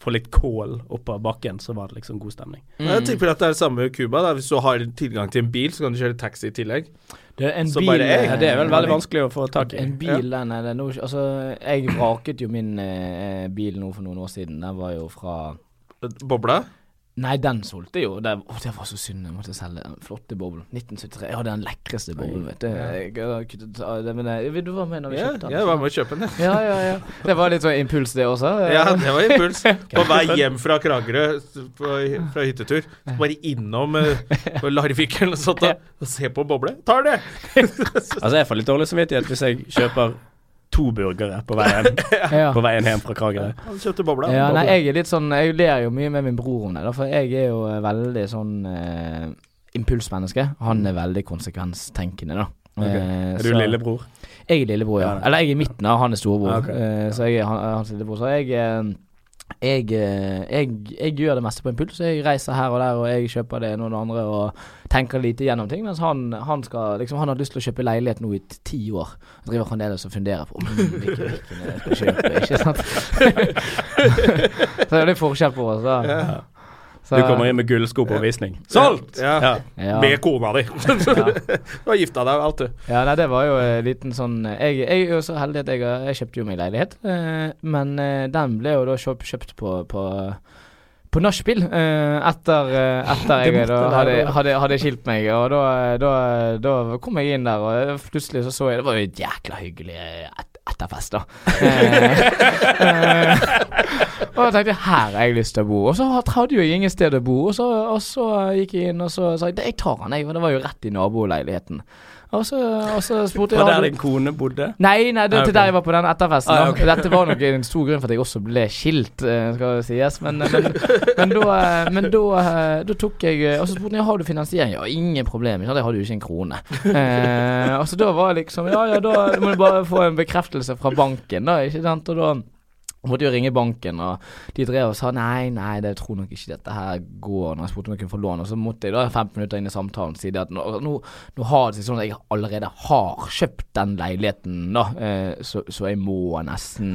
S2: få litt kål opp av bakken, så var det liksom god stemning.
S1: Jeg tipper at det er det samme i Cuba. da. Hvis du har tilgang til en bil, så kan du kjøre taxi i tillegg.
S4: Det er en
S1: Så
S4: bil
S1: bare jeg.
S4: eh,
S2: Ja, det er vel veldig vanskelig å få tak i.
S4: En bil, den er det nå ikke Altså, jeg vraket jo min eh, bil nå for noen år siden. Den var jo fra
S1: Bobla.
S4: Nei, den solgte jo. Det, å, det var så synd. Jeg måtte selge den flotte boblen. 1973. Jeg hadde den lekreste boblen, vet du. Jeg, har kuttet av det, men jeg, du var med når vi
S1: Ja,
S4: kjøpte den.
S1: jeg var med å kjøpe den, jeg.
S4: Ja, ja, ja. Det var litt sånn impuls, det også.
S1: Ja, det var impuls. På vei hjem fra Kragerø s- på, fra hyttetur. Så Bare innom uh, Larvik eller noe sånt da, og se på boble. Tar det!
S2: Altså, jeg får litt dårlig samvittighet hvis jeg kjøper to burgere på veien, [laughs]
S4: Ja.
S2: på veien hjem fra Kragerø.
S1: Han kjøpte bobla.
S4: Ja, nei,
S1: Bobla.
S4: jeg er litt sånn Jeg ler jo mye med min bror om det, da, for jeg er jo eh, veldig sånn eh, impulsmenneske. Han er veldig konsekvenstenkende, da. Eh,
S2: Er du
S4: så-
S2: lillebror?
S4: Jeg er lillebror, ja.
S2: Ja.
S4: Eller jeg er i midten av, han er storebror.
S2: Ja, ok.
S4: Eh, så jeg er han, hans lillebror. Så jeg, eh, jeg, eh, jeg, jeg gjør det meste på impuls. Jeg reiser her og der, og jeg kjøper det ene og det andre, og tenker lite gjennom ting. Mens han, han, skal, liksom, han har lyst til å kjøpe leilighet nå i t- ti år. Jeg driver fremdeles og funderer på om hvilken hvilken jeg skal kjøpe, ikke sant. [laughs] så det er litt forskjell på oss, da. Så-
S2: Du kommer inn med gullsko på visning. Solgt!
S1: Ja.
S2: Ja.
S4: Ja.
S1: Med kona
S2: [laughs]
S1: di. du har gifta deg og alt, du.
S4: Ja, nei, det var jo en liten sånn Jeg, jeg er jo så heldig at jeg, har- jeg kjøpte jo meg leilighet, eh, men eh, den ble jo da kjøpt, kjøpt på, på på nachspiel, eh, etter, eh, etter jeg da hadde, hadde, hadde skilt meg. Og da, da, da kom jeg inn der, og plutselig så så jeg Det var jo et jækla hyggelig et, etterfest, da. Eh, eh, Og jeg tenkte her har jeg lyst til å bo. Og så hadde jo jeg ingen sted å bo. Og så, og så gikk jeg inn og så sa jeg, jeg tar han, jeg. Og det var jo rett i naboleiligheten. Og så, og så spurte jeg
S2: Var der
S4: «Har du-
S2: din kone bodde?
S4: Nei, nei, det
S2: Ah,
S4: til
S2: ok.
S4: der jeg var på den etterfesten.
S2: Ah,
S4: da.
S2: ok.
S4: Dette var nok en stor grunn for at jeg også ble skilt, eh, skal det sies. Men, men, men, da, eh, men da, eh, da tok jeg eh, Og så spurte jeg har du finansiering. Ja, ingen problem. Ikke? sant? Jeg hadde jo ikke en krone. Eh, og så da var jeg liksom Ja, ja, da må du bare få en bekreftelse fra banken, da. Ikke sant? Og da måtte jeg jo ringe banken, og de drev og sa nei, nei, det tror nok ikke dette her går. Når jeg spurte om jeg kunne få lån, og så måtte jeg da 15 minutter inn i samtalen si det at nå, nå, nå har det seg sånn at jeg allerede har kjøpt den leiligheten, da, eh, så, så jeg må nesten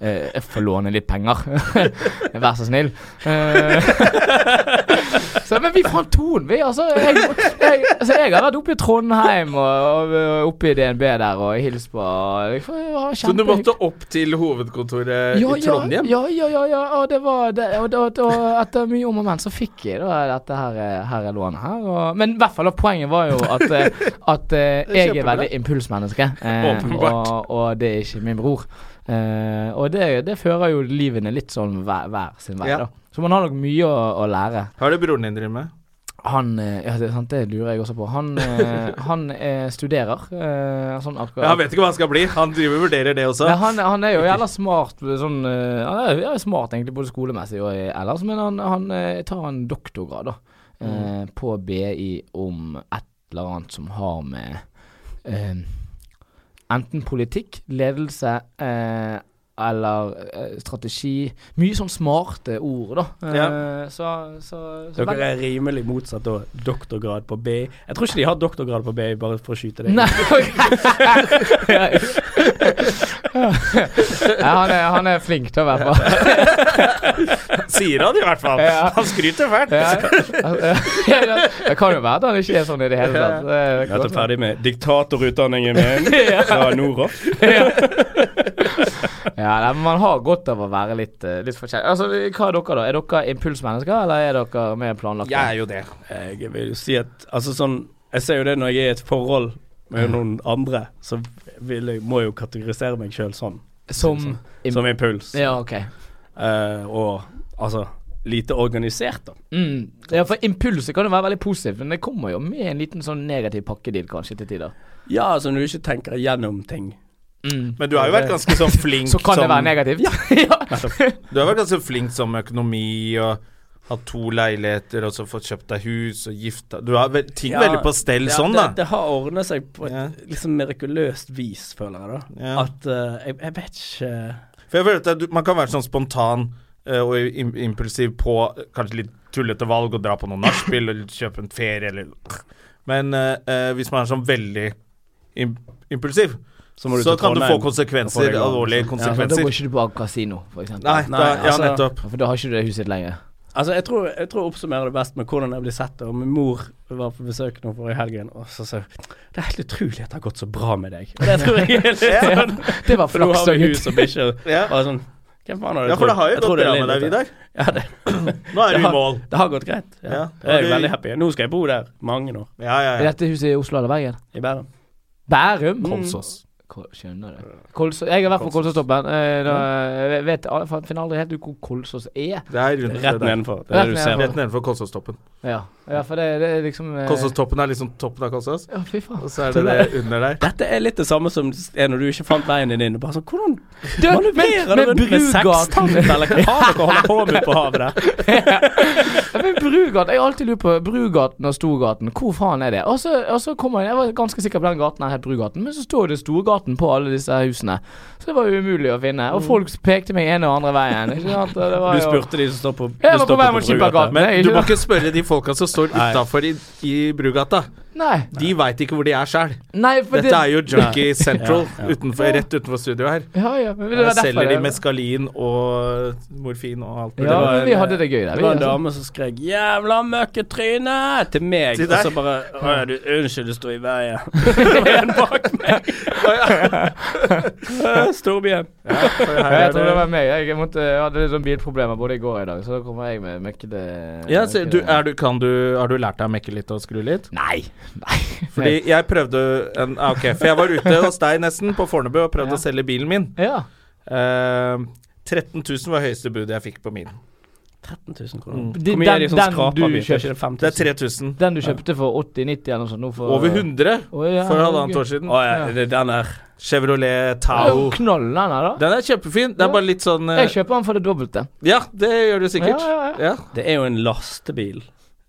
S4: eh, få låne litt penger. [laughs] Vær så snill. Eh, [laughs] så, men vi fant tonen, vi. Altså, jeg, jeg, altså, jeg har vært oppe i Trondheim og, og, og oppe i DNB der og hilst på. Jeg, får- jeg, har
S1: Så du
S4: kjempehyggelig.
S1: måtte opp til hovedkontoret
S4: Ja,
S1: i Trondheim?
S4: Ja, ja, ja. ja. Og, det var det, og, det- og, og etter mye om og men så fikk jeg da dette her, eh, her er lånet her. Og, men i hvert fall da, poenget var jo at, eh,
S1: [laughs]
S4: at eh, jeg er
S1: Kjempebra.
S4: veldig impulsmenneske. eh,
S1: Åpenbart.
S4: og, og det er ikke min bror. Eh, og det, det fører jo livene litt sånn hver, hver sin vei,
S1: Ja.
S4: da. Så man har nok mye å, å lære.
S1: Hva er det broren din driver med?
S4: Han eh, ja, det, er sant, det lurer jeg også på. Han,
S1: [laughs]
S4: eh, han eh, studerer. eh, sånn akkurat
S1: Ja, han vet ikke hva han skal bli. Han driver og vurderer det også.
S4: Nei, han, han er jo
S2: [laughs]
S4: jævla smart sånn eh, Han er jo smart egentlig både skolemessig og ellers, men han, han eh, tar en doktorgrad da
S2: Mm.
S4: eh, på BI om et eller annet som har med eh, enten politikk, ledelse eh, eller eh, strategi Mye sånn smarte ord, da. Eh, Så, så, så
S2: Dere er rimelig motsatt av doktorgrad på BI. Jeg tror ikke de har doktorgrad på BI, bare for å skyte deg.
S4: [laughs] Nei, ok. [laughs] ja, han, er, han er flink til å være
S2: [laughs]
S4: på.
S1: Sier han i hvert fall.
S4: Ja.
S1: Han skryter fælt.
S4: Ja, ja, det kan jo være at han ikke er sånn i det hele tatt. Det er
S2: Jeg er
S4: godt.
S2: ferdig med diktatorutdanningen
S4: [laughs]
S2: min fra Noroff.
S4: Ja, nei, men Man har godt av å være litt, eh, litt forskjellig. Altså, hva er dere, da? Er dere impulsmennesker, eller er dere mer planlagte?
S1: Jeg er jo det.
S2: Jeg vil jo si at Altså sånn Jeg ser jo det når jeg er i et forhold med noen andre, så vil jeg, må jeg jo kategorisere meg sjøl sånn.
S4: Som
S2: Som impuls.
S4: Ja, OK.
S2: Eh, og altså lite organisert, da.
S4: Mm. Ja, for impulser kan jo være veldig positivt, men det kommer jo med en liten sånn negativ pakkedeal kanskje til tider.
S2: Ja, altså når du ikke tenker igjennom ting.
S1: Men du har jo vært ganske sånn flink
S4: Så kan det
S1: som-
S4: være negativt. [laughs] Ja.
S1: Du har vært ganske flink som økonomi og hatt to leiligheter og så fått kjøpt deg hus og gifta Du har vel- ting
S2: Ja,
S1: veldig på stell
S2: ja,
S1: sånn,
S2: det,
S1: da.
S2: Det har ordnet seg på et
S1: Ja.
S2: liksom mirakuløst vis, føler jeg, da.
S1: Ja.
S2: At eh, jeg, jeg vet ikke
S1: For jeg føler at du, Man kan være sånn spontan eh, og im impulsiv på eh, kanskje litt tullete valg, og dra på noen nachspiel og kjøpe en ferie eller Men eh, eh, hvis man er sånn veldig im impulsiv,
S2: Så
S1: så,
S2: må du til
S1: kan du få
S2: Trondheim. Da får
S1: konsekvenser,
S2: jeg-
S1: alvorlige
S4: Ja, for da
S1: konsekvenser.
S4: går ikke du på kasino, for eksempel.
S1: Nei, da,
S2: Nei,
S1: ja,
S2: altså-
S1: nettopp.
S4: For da har ikke du det huset lenger.
S2: Altså, jeg tror, jeg tror jeg oppsummerer det best med hvordan jeg blir sett. Og min mor var på besøk nå forrige helgen, og så sa hun Det er helt utrolig at det har gått så bra med deg. Og Det tror jeg
S1: [laughs]
S2: er litt sånn.
S4: Det var
S2: For nå
S4: flaks
S2: har
S4: og
S2: vi
S4: gutt.
S2: hus og bikkje.
S1: Ja.
S2: Bare sånn Hvem faen har du
S1: Ja, for det har jo gått bra med deg, Vidar.
S2: Ja, det,
S1: Nå er
S2: det, [laughs]
S1: du i
S2: har,
S1: mål.
S2: det har gått greit. Ja.
S1: Ja,
S2: Jeg er
S1: og
S2: jo
S1: du-
S2: veldig happy. Nå skal jeg bo der mange år.
S1: Ja, ja,
S4: Er
S1: ja.
S4: dette huset i Oslo eller Bergen?
S2: I Bærum.
S4: Bærum?
S1: Kolsås.
S4: Ko- Mm. Skjønner det. Kolsås. Jeg har vært på Kolsåstoppen. eh, da- Jeg vet, jeg finner aldri helt ut hvor Kolsås er.
S1: Det er rundt
S2: Rett
S1: der.
S2: nedenfor. Det er det du ser.
S1: Rett nedenfor Kolsåstoppen.
S4: Ja, ja for det, det er liksom eh,
S1: Kolsåstoppen er liksom toppen av Kolsås,
S4: Ja, fy faen.
S1: og så er det det under der.
S2: Dette er litt det samme som er når du ikke fant veien din inn. Bare sånn, hvordan
S4: Du,
S2: manøvrerer du
S4: men
S2: rundt med
S4: [laughs]
S2: sekstanten,
S4: Brugaten
S2: eller hva har dere holder på med
S4: [laughs]
S2: på havet der?
S4: Men Brugaten Jeg har alltid lurt på Brugaten og Storgaten. Hvor faen er det? Og så, og så kommer jeg Jeg var ganske sikker på den gaten her het Brugaten, men så står det Storgaten på alle disse her husene. Så det var jo umulig å finne. Og folk pekte meg ene og andre veien. Ikke sant? Og det var
S2: Du
S4: jo-
S2: spurte de som står på
S4: Jeg
S2: du
S4: var
S2: står
S4: på vei mot
S2: Brugata.
S4: Skippergaten. Nei,
S1: Men du
S4: ikke
S1: må
S4: det.
S1: ikke spørre de folka som står
S2: Nei.
S1: utafor i, i Brugata.
S4: Nei.
S1: De veit ikke hvor de er sjøl.
S4: Nei, for det
S1: Dette er jo Junkie Central
S2: Ja, ja.
S1: Utenfor, rett utenfor studio her.
S4: Ja, ja. Men det var
S1: Her
S4: derfor
S1: selger de
S4: det-
S1: meskalin og morfin og alt mulig.
S4: Ja,
S2: Det var
S4: men
S2: en-
S4: vi hadde det gøy der.
S2: Det
S4: Vi,
S2: var en
S4: altså.
S2: dame som skrek 'jævla møkketryne' til meg.
S1: Til
S2: Og
S1: deg?
S2: så bare «Å ja, du, 'Unnskyld, du sto i
S4: [laughs]
S2: veien'. Det var en bak meg. [laughs] Eh, Storbyen.
S4: Ja, jeg tror det var meg. Jeg, måtte, jeg hadde litt sånn bilproblemer både i går og i dag, så da kommer jeg med møkkete
S1: Ja, så
S4: møkkete-
S1: du, er du, kan du, har du lært deg å mekke litt og skru litt?
S4: Nei. Nei.
S1: Fordi jeg prøvde en ah, Ok, for jeg var ute hos deg nesten, på Fornebu, og prøvde å
S4: Ja.
S1: selge bilen min.
S4: Ja.
S1: Eh, 13 000 var høyeste budet jeg fikk på min.
S2: 13 000 kroner.
S4: De-
S2: Hvor mye er
S4: Mm. den-
S2: de
S1: liksom,
S2: som
S4: den du
S2: skraper mye? Er
S4: kjøper.
S2: ikke det 5
S1: Det
S2: 000?
S1: er 3000.
S4: Den du kjøpte for 80-90 eller noe sånt nå for
S1: Over 100
S4: Å, ja,
S1: for halvannet år
S4: ok.
S1: siden.
S2: Å ja, det er den der.
S1: Chevrolet
S4: Det er jo
S1: Tao.
S4: Knoll den her, da.
S1: Den er kjempefin. Det er bare litt sånn eh,
S4: Jeg kjøper den for det dobbelte.
S1: Ja, det gjør du sikkert.
S4: Ja, ja,
S1: Ja,
S2: Det er jo en lastebil.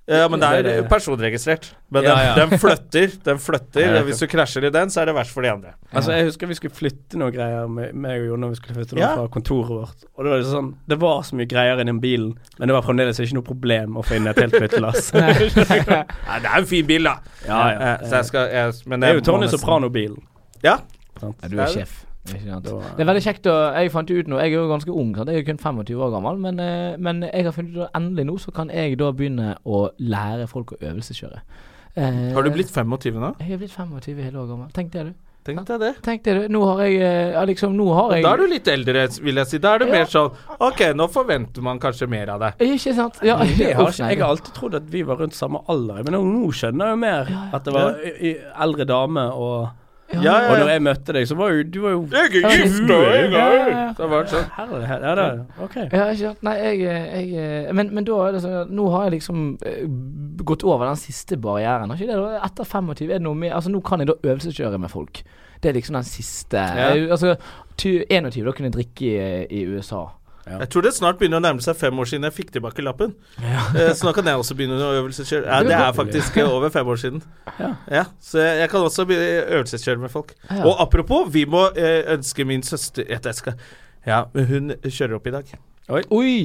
S1: Ja, men det
S2: Det er
S1: er
S2: det.
S1: personregistrert. Men
S2: Ja,
S1: den,
S2: ja.
S1: den flytter. Den flytter.
S2: Ja, ja.
S1: Hvis du krasjer i den, så er det verst for de andre.
S2: Altså, jeg husker vi skulle flytte noe greier med meg og Jon når vi skulle flytte noe
S1: Ja.
S2: fra kontoret vårt. Og det var liksom sånn Det var så mye greier inni den bilen, men det var fremdeles ikke noe problem å finne et helt [laughs] flyttelass.
S1: Nei, det er en fin bil, da.
S2: ja, ja.
S1: Eh, Så jeg skal jeg, men
S2: Det er
S1: jeg
S2: jo
S1: må
S2: Tony
S1: nesten-
S2: Soprano-bilen.
S1: Ja.
S4: Ja, du er
S1: Det er-
S4: sjef. Det er ikke sant.
S2: Da-
S4: Det er veldig kjekt å Jeg fant jo ut nå Jeg er jo ganske ung, sant? jeg er jo kun 25 år gammel, men, eh, men jeg har funnet ut at endelig nå så kan jeg da begynne å lære folk å øvelseskjøre. Eh,
S1: Har du blitt 25 nå?
S4: Jeg er blitt 25 hele år gammel. Tenk det, du.
S1: Tenk deg det.
S4: Tenk det, du. Nå har jeg eh, ja, liksom Nå har jeg
S1: Da er du litt eldre, vil jeg si. Da er det
S4: Ja.
S1: mer sånn OK, nå forventer man kanskje mer av deg.
S4: Ikke sant? Ja,
S2: Det har
S4: [laughs]
S2: ikke,
S4: uff, nei,
S2: jeg har alltid trodd at vi var rundt samme alder, men nå skjønner jeg jo mer at det var y- y- eldre dame og
S1: Ja,
S2: Og
S1: ja,
S2: når
S1: ja.
S2: jeg møtte deg, så var jo du var jo
S1: Jeg er ikke gift nå
S4: Ja, ja,
S1: engang!
S4: ja.
S1: Det var sånn.
S2: Herlighet. Ja, det OK.
S4: Ja, ikke sant. Nei, jeg, jeg eh, men, men da er det sånn at Nå har jeg liksom eh, b- gått over den siste barrieren. Har ikke det da? Etter 25 er det noe mer Altså, nå kan jeg da øvelseskjøre med folk. Det er liksom den siste jeg, Altså, ty, 21 da kunne jeg drikke i, i USA.
S1: Jeg tror det snart begynner å nærme seg fem år siden jeg fikk tilbake lappen. Eh, Så nå kan jeg også begynne å øvelseskjøre. Ja, det er faktisk eh, over fem år siden. Ja, så jeg jeg kan også begynne å øvelseskjøre med folk.
S4: Ja.
S1: Og apropos, vi må eh, ønske min søster at jeg skal Ja, men hun kjører opp i dag.
S4: Oi!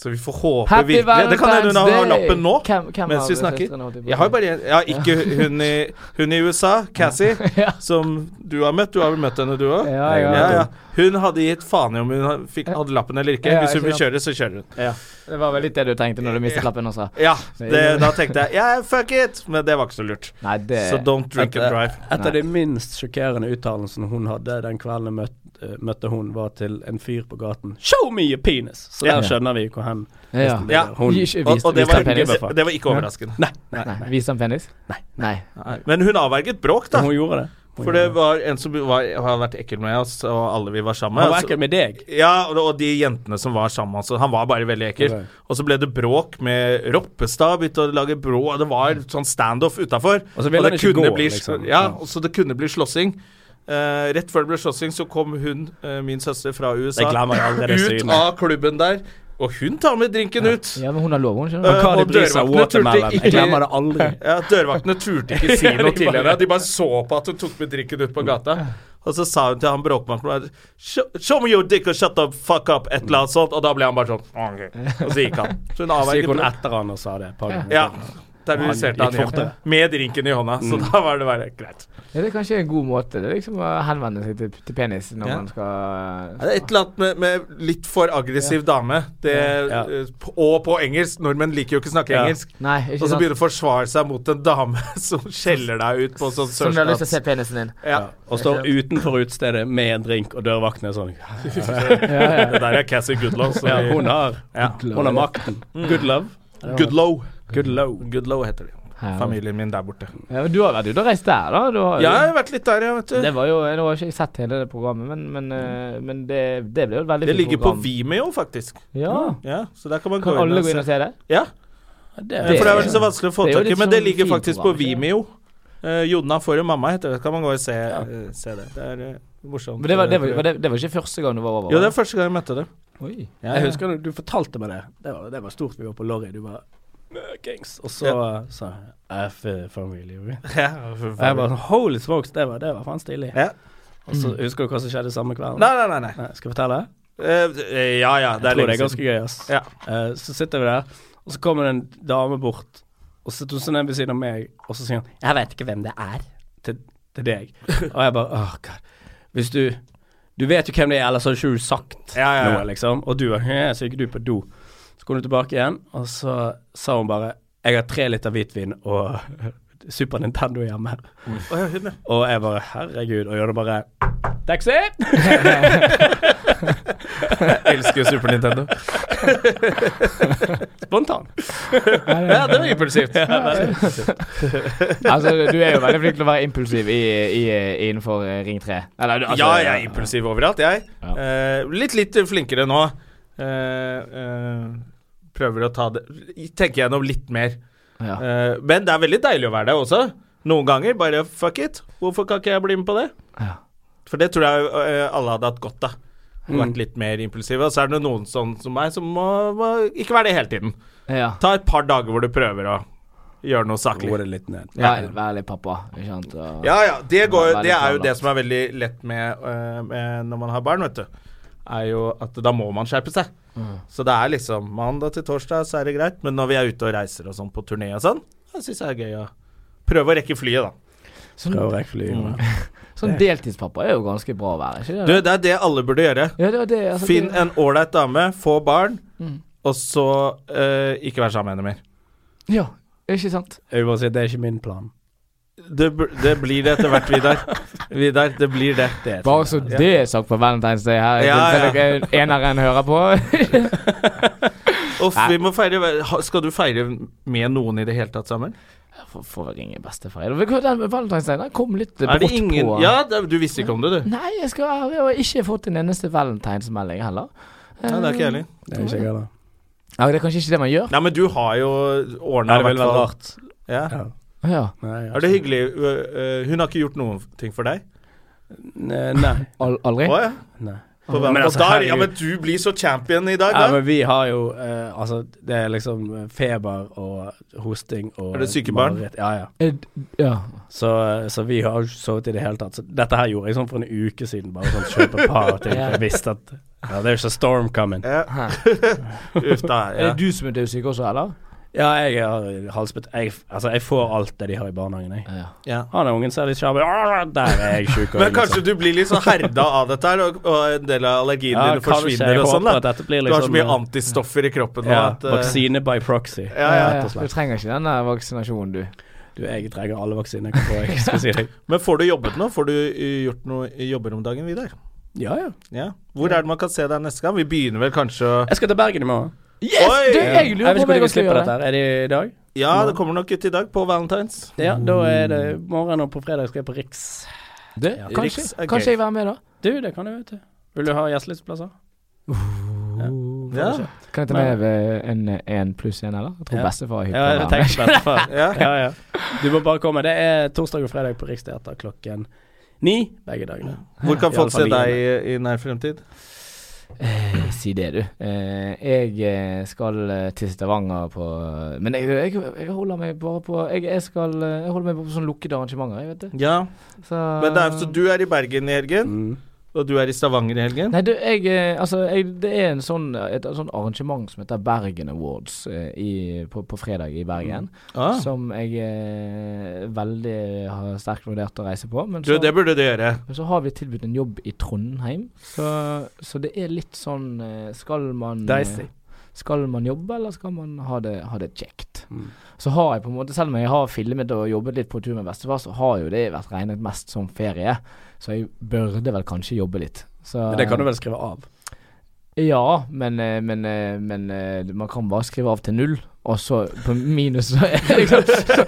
S1: Så vi får håpe
S4: Happy
S1: virkelig Det kan hende hun har lappen nå.
S4: Hvem, hvem
S1: mens
S4: av
S1: vi snakker.
S4: søstrene holdt jeg på å
S1: Jeg har
S4: si?
S1: bare en Ja, ikke hun i, hun i USA,
S4: [laughs]
S1: Cassie, som du har møtt. Du har vel møtt henne, du òg?
S4: Ja, jeg har
S1: ja,
S4: møtt
S1: ja. Hun hadde gitt faen i om hun ha- fikk, hadde lappen eller ikke.
S4: Ja,
S1: Hvis hun
S4: ikke
S1: vil kjøre, så kjører hun.
S4: Det var vel litt det du tenkte når du mistet lappen også?
S1: Ja, det, da tenkte jeg yeah, fuck it, men det var ikke så lurt.
S4: Nei, det
S1: Så don't drink and drive.
S2: Et av de minst sjokkerende uttalelsene hun hadde den kvelden jeg møtte, eh, møtte hun, var til en fyr på gaten 'Show me your penis!' Så
S1: Ja.
S2: der skjønner vi hvor hen
S4: ja.
S1: Ja,
S2: hun
S4: Vis-
S1: og, og det,
S4: vis
S1: var,
S4: den penis.
S1: det, det var ikke overraskende.
S2: Nei,
S4: Nei, Vis den penis? Nei. Nei.
S1: Men hun avverget bråk, da.
S2: hun gjorde det. Hun
S1: For det var en som var, har vært ekkel med oss, og alle vi var sammen
S2: Han var
S1: altså-
S2: ekkel med deg.
S1: Ja, og, og de jentene som var sammen altså, Han var bare veldig ekkel.
S2: Ok.
S1: Og så ble det bråk med Roppestad, begynte å lage brå og Det var sånn standoff utafor.
S2: Og så ville han ikke gå, liksom.
S1: ja, og så det kunne bli slåssing. Eh, rett før det ble slåssing, så kom hun, eh, min søster fra USA,
S2: Det glemmer jeg aldri, det
S1: ut
S2: synet.
S1: av klubben der. Og hun tar med drinken ut.
S4: Ja, men hun har lov, hun, skjønner du.
S1: Eh,
S2: Hva de
S1: og
S2: bryr seg om
S1: dørvaktene turte
S2: watermelon. Jeg
S1: ikke-
S2: glemmer det aldri.
S1: ja, Dørvaktene turte ikke
S2: [laughs]
S1: si
S2: Ja,
S1: noe
S2: de
S1: til
S2: bare-
S1: henne. De bare så på at hun tok med drikken ut på gata. Og så sa hun til han bråkmannen «Show show me your dick and shut the fuck up, et eller annet sånt. Og da ble han bare sånn «Ah, ok». Og så gikk han. Så
S2: Så
S1: hun
S2: gikk
S1: avverget
S2: hun
S1: det.
S2: etter han og sa det. et par ganger.
S1: Ja.
S2: Han
S1: Terroriserte han
S2: gikk
S1: igjen.
S2: fortere. Mm.
S1: Med drinken i hånda. Så da var det bare greit.
S4: Ja, det er kanskje en god måte. Det er liksom å henvende seg til, til penis når
S1: Ja.
S4: man skal
S1: Ja, det er Et eller annet med, med litt for aggressiv dame. Det,
S2: Ja.
S1: eh, p- Og på engelsk. Nordmenn liker jo ikke å snakke
S2: Ja.
S1: engelsk.
S4: Nei,
S1: Og
S4: ikke
S1: så
S4: sant.
S1: begynner å forsvare seg mot en dame [laughs] som skjeller deg ut på sånn
S4: Som du har lyst til å se
S1: sørstats...
S4: penisen din.
S1: Ja.
S2: Og står utenfor utestedet med en drink, og dørvakten er sånn
S1: Det der er Cassie Goodlow. så
S2: Ja, Mm.
S1: vi-
S2: hun har, hun har makten. Good love.
S1: Goodlow.
S2: Good love.
S1: Goodlow heter de.
S4: Ja.
S1: Familien min der borte.
S4: Ja, men du har vært ute og reist der, da. Du har, jo-
S1: Ja, jeg har vært litt der, ja, vet
S4: Det
S1: du.
S4: var jo Nå har ikke jeg sett hele det programmet, men, men, eh, men det, det ble jo et veldig
S1: Det
S4: fint
S1: ligger på
S4: program.
S1: Vimeo, faktisk.
S4: Ja.
S1: Ja, så der kan man
S4: Kan alle
S1: gå
S4: gå
S1: inn
S4: inn
S1: og
S4: og
S1: se.
S4: se det?
S1: Ja,
S2: Det
S1: for det har vært
S4: er-
S1: så vanskelig å få
S4: det er jo
S1: tak i,
S4: litt
S1: men det
S4: sånn
S1: ligger
S4: fint
S1: faktisk på
S4: program, ikke?
S1: Vimeo. Eh, Jonna får en mamma, heter det. Kan man gå og se, eh, se det. Det er eh, morsomt.
S4: Men det var, det, var, var det, det var ikke første gang du var over?
S1: Jo, det er første gang jeg [laughs] møtte det.
S4: Oi.
S2: Jeg husker du, du fortalte meg det. Det var, det var stort. Vi var på Lorry. Du var møkings. Og så sa jeg F familie. vi». Og jeg bare Holy smokes, det var, det var faen
S4: sånn-
S2: stilig.
S1: Ja.
S2: Og så husker du hva som skjedde samme kvelden?
S1: Nei, nei, nei. nei.
S2: Nei, skal jeg fortelle?
S1: Eh, ja, ja, det
S2: Jeg tror
S1: er
S2: det
S1: lenge
S2: er ganske
S1: siden.
S2: gøy, ass.
S1: Ja.
S2: Eh, så sitter vi der, og så kommer det en dame bort, og så sitter hun sånn ned ved siden av meg, og så sier hun 'Jeg vet ikke hvem det er', til, til
S1: [laughs]
S2: deg. og jeg bare åh, god. Hvis du Du vet jo hvem det er, ellers hadde ikke du sagt
S1: Ja, ja, ja.
S2: noe, liksom. Og du bare «Hæ», Så gikk du på do. Så kom du tilbake igjen, og så sa hun bare 'Jeg har tre liter hvitvin og [laughs] Super Nintendo hjemme'.
S1: Å, ja, hun, ja.
S2: Og jeg bare herregud, og gjør det bare Taxi!
S1: Elsker Super Nintendo.
S2: Spontan.
S1: Ja, det var impulsivt.
S4: Altså, du er jo veldig flink til å være impulsiv i, i, innenfor eh, Ring 3. Eller, du- altså,
S1: ja, jeg er impulsiv overalt, jeg.
S4: Ja.
S1: Eh, litt, litt flinkere nå. Eh, eh, prøver å ta det Tenker gjennom litt mer.
S4: Ja.
S1: Eh, men det er veldig deilig å være der også. Noen ganger bare fuck it. Hvorfor kan ikke jeg bli med på det?
S4: Ja.
S1: For det tror jeg eh, alle hadde hatt godt av. Å Vært litt mer impulsive. Og så er det noen sånn som meg som må, må ikke være det hele tiden.
S4: Ja.
S1: Ta et par dager hvor du prøver å gjøre noe saklig.
S2: Roe det litt ned.
S4: Vær, vær litt pappa, ikke sant? Og,
S1: Ja, ja. Det, går,
S4: Være
S1: det er jo
S4: planlagt.
S1: det som er veldig lett med, øh, med når man har barn, vet du. Er jo at da må man skjerpe seg.
S4: Mm.
S1: Så det er liksom mandag til torsdag, så er det greit. Men når vi er ute og reiser og sånn på turné og sånn, da syns jeg det er gøy å prøve å rekke flyet, da.
S4: Sånn,
S2: Prøver jeg fly,
S1: Mm.
S2: men-
S4: sånn deltidspappa er jo ganske bra å være, ikke
S1: Du,
S4: det?
S1: det er det alle burde gjøre.
S4: ja, Mm. det, var det, altså,
S1: Finn
S4: det,
S1: en ålreit dame, få barn, og så øh, ikke være sammen med henne mer.
S4: Ja, ikke sant?
S2: Jeg vil bare si at det er ikke min plan.
S1: Det, bl- det blir det etter hvert,
S4: [laughs]
S1: Vidar. Vidar, det blir det.
S2: Det er
S4: Bare så det er sagt på Valentine's Day her.
S1: Ja, ja.
S4: Ja, ja. Eneren hører på. [laughs]
S1: Uff, vi må feire ha- Skal du feire med noen i det hele tatt sammen?
S4: Får- Får ringe bestefar. Den Valentine's Day den kom litt
S2: eh,
S1: Er
S4: brått
S1: det ingen
S4: på.
S1: Ja, det, du visste ikke om det, du.
S4: Nei, jeg, skal, jeg har ikke fått en eneste valentinsmelding heller.
S1: Nei, det er ikke jeg heller.
S2: Det er ikke jeg heller.
S4: Ja, det er kanskje ikke det man gjør.
S1: Nei, men du har jo ordna
S2: det ville vært rart.
S1: Ja.
S2: Ja.
S4: Ja,
S2: Nei, altså, jeg har
S1: Er det
S2: ikke-
S1: hyggelig? øh, øh, Hun har ikke gjort noen ting for deg?
S2: Nei,
S1: [laughs]
S2: Nei.
S4: Al aldri.
S1: Å ja.
S2: Eh? nei.
S1: På
S2: Men
S1: men,
S2: altså,
S1: ja,
S2: herregud.
S1: men du blir så champion i dag,
S2: Ja,
S1: da.
S2: men vi har jo eh, Altså, det er liksom eh, feber og hosting og
S1: Er det syke barn?
S2: mareritt. Ja, ja.
S4: Eh, d- Ja.
S2: Så, eh, så vi har jo ikke sovet i det hele tatt. Så dette her gjorde jeg sånn for en uke siden, bare sånn kjøpe et [laughs] par ting. for Jeg visste at ja, There's a storm coming.
S1: Ja. [laughs] Uff da.
S4: Er
S1: Ja.
S4: det du som er dødssyk også, eller?
S2: Ja, jeg har halsbet jeg, Altså, jeg får alt det de har i barnehagen, jeg.
S4: Ja.
S1: Ja.
S2: Han er ungen som er litt sjarm. [laughs] Der er sånn. jeg sjuk. liksom.
S1: Men kanskje du blir litt så herda av dette her, og, og en del av allergiene
S2: Ja,
S1: dine
S2: kanskje.
S1: forsvinner
S2: Jeg
S1: og sånn,
S2: håper at
S1: da.
S2: dette blir
S1: Du har så
S2: liksom,
S1: mye
S2: eh,
S1: antistoffer i kroppen nå
S2: ja,
S1: at øh,
S2: Vaksine by proxy.
S1: Ja, ja,
S2: rett og
S4: Du
S2: slett.
S4: trenger ikke den der vaksinasjonen, du.
S2: Du, jeg trenger alle vaksiner jeg kan få, jeg skal si deg.
S1: Men får du jobbet nå? Får du øh, gjort noe jobber om dagen, Vidar?
S2: Ja, ja.
S1: Ja. Hvor er det man kan se deg neste gang? Vi begynner vel kanskje å
S2: Jeg skal til Bergen i morgen.
S4: Yes!
S1: Oi!
S4: Du,
S1: Ja.
S4: jeg
S2: Jeg
S4: lurer
S2: vet ikke
S4: på om
S2: når
S4: jeg
S2: vi
S4: også
S2: slipper
S4: gjør
S2: dette
S4: det.
S2: her. Er det i dag?
S1: Ja, det kommer nok ut i dag, på Valentine's.
S2: Ja, da
S4: Mm.
S2: er det morgen, og på fredag skal jeg på Riks.
S4: Det,
S2: Ja.
S4: kanskje,
S1: Riks er gøy.
S4: kanskje jeg være med, da?
S2: Du, det kan du, vet du. Vil du ha gjestelisteplasser?
S1: Ja.
S4: Kan jeg ta med eh, en én pluss én, eller? Jeg tror
S2: Ja.
S4: bestefar er hypp
S2: Ja, jeg
S4: på det.
S2: tenker
S4: [laughs]
S2: bestefar.
S1: Ja.
S2: ja, ja. Du må bare komme. Det er torsdag og fredag på Riksteater klokken ni begge dagene.
S1: Hvor kan
S2: I
S1: folk
S2: alle
S1: se deg i,
S2: familiene.
S1: i nær fremtid?
S4: Eh, Si det, du. Eh, Jeg eh, skal eh, til Stavanger på Men jeg, jeg, jeg holder meg bare på Jeg, jeg skal eh, Jeg holder meg bare på sånne lukkede arrangementer, jeg, vet du.
S1: Ja,
S4: Så,
S1: men det er, så du er i Bergen i helgen,
S2: Mm.
S1: og du er i Stavanger i helgen.
S4: Nei, du, jeg, eh, altså, jeg, det er en sånn, et, sånn arrangement som heter Bergen Awards eh, i, på, på fredag i Bergen.
S1: Ah.
S4: Som jeg eh, veldig har sterkt vurdert å reise på. Men
S1: Du,
S4: så,
S1: det burde du gjøre.
S4: men så har vi tilbudt en jobb i Trondheim, så, så det er litt sånn eh, Skal man eh,
S2: Dicey.
S4: Skal man jobbe, eller skal man ha det, ha det kjekt?
S2: Mm.
S4: Så har jeg på en måte, selv om jeg har filmet og jobbet litt på tur med bestefar, så har jo det vært regnet mest som ferie. Så jeg burde vel kanskje jobbe litt. Så,
S2: Men Det kan du vel skrive av.
S4: Ja, men, eh, men, eh, men eh, man kan bare skrive av til null, og så på minus så er det [laughs] liksom så-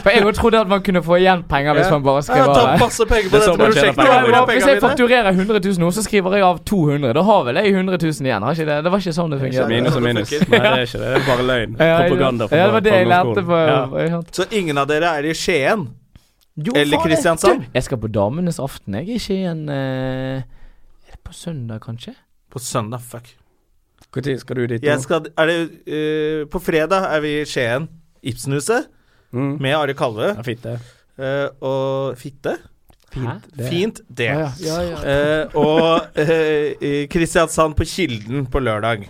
S4: For jeg jo trodde at man kunne få igjen penger hvis
S1: Ja.
S4: man bare skrev
S1: Jeg
S4: av.
S1: tar masse penger
S2: Det
S1: på
S2: er
S1: dette
S2: sånn man tjener
S1: prosjektet.
S2: penger.
S1: Hvor er
S4: Ja, men Hvis
S1: pengene
S4: jeg
S1: mine?
S4: fakturerer 100 000 nå, så skriver jeg av 200. Da har vel jeg 100 000 igjen, har ikke det? Det var ikke sånn det
S1: Ja,
S4: fungerte.
S2: Minus og
S1: det
S2: minus.
S1: funker.
S2: Nei, det er ikke det. Det er bare løgn.
S4: Ja, ikke
S2: Propaganda.
S4: sant? Ja, det var det jeg lærte på
S2: Ja.
S4: ikke sant?
S1: Så ingen av dere er i Skien?
S4: Jo,
S1: Eller
S4: faen, jeg-
S1: Kristiansand?
S4: du, Jeg skal på Damenes aften, jeg. Ikke i en eh, Er det på søndag, kanskje?
S1: På søndag, fuck.
S2: Hvor tid skal du dit?
S1: Jeg
S2: nå?
S1: skal, er det, eh, på fredag er vi i Skien. Ibsenhuset
S2: Mm.
S1: med Are Kalve
S2: Ja, fint, det.
S1: eh, og Fitte.
S4: Fint.
S1: Fint, det.
S4: Ja, ja, ja, ja.
S1: Eh, og eh, i Kristiansand på Kilden på lørdag.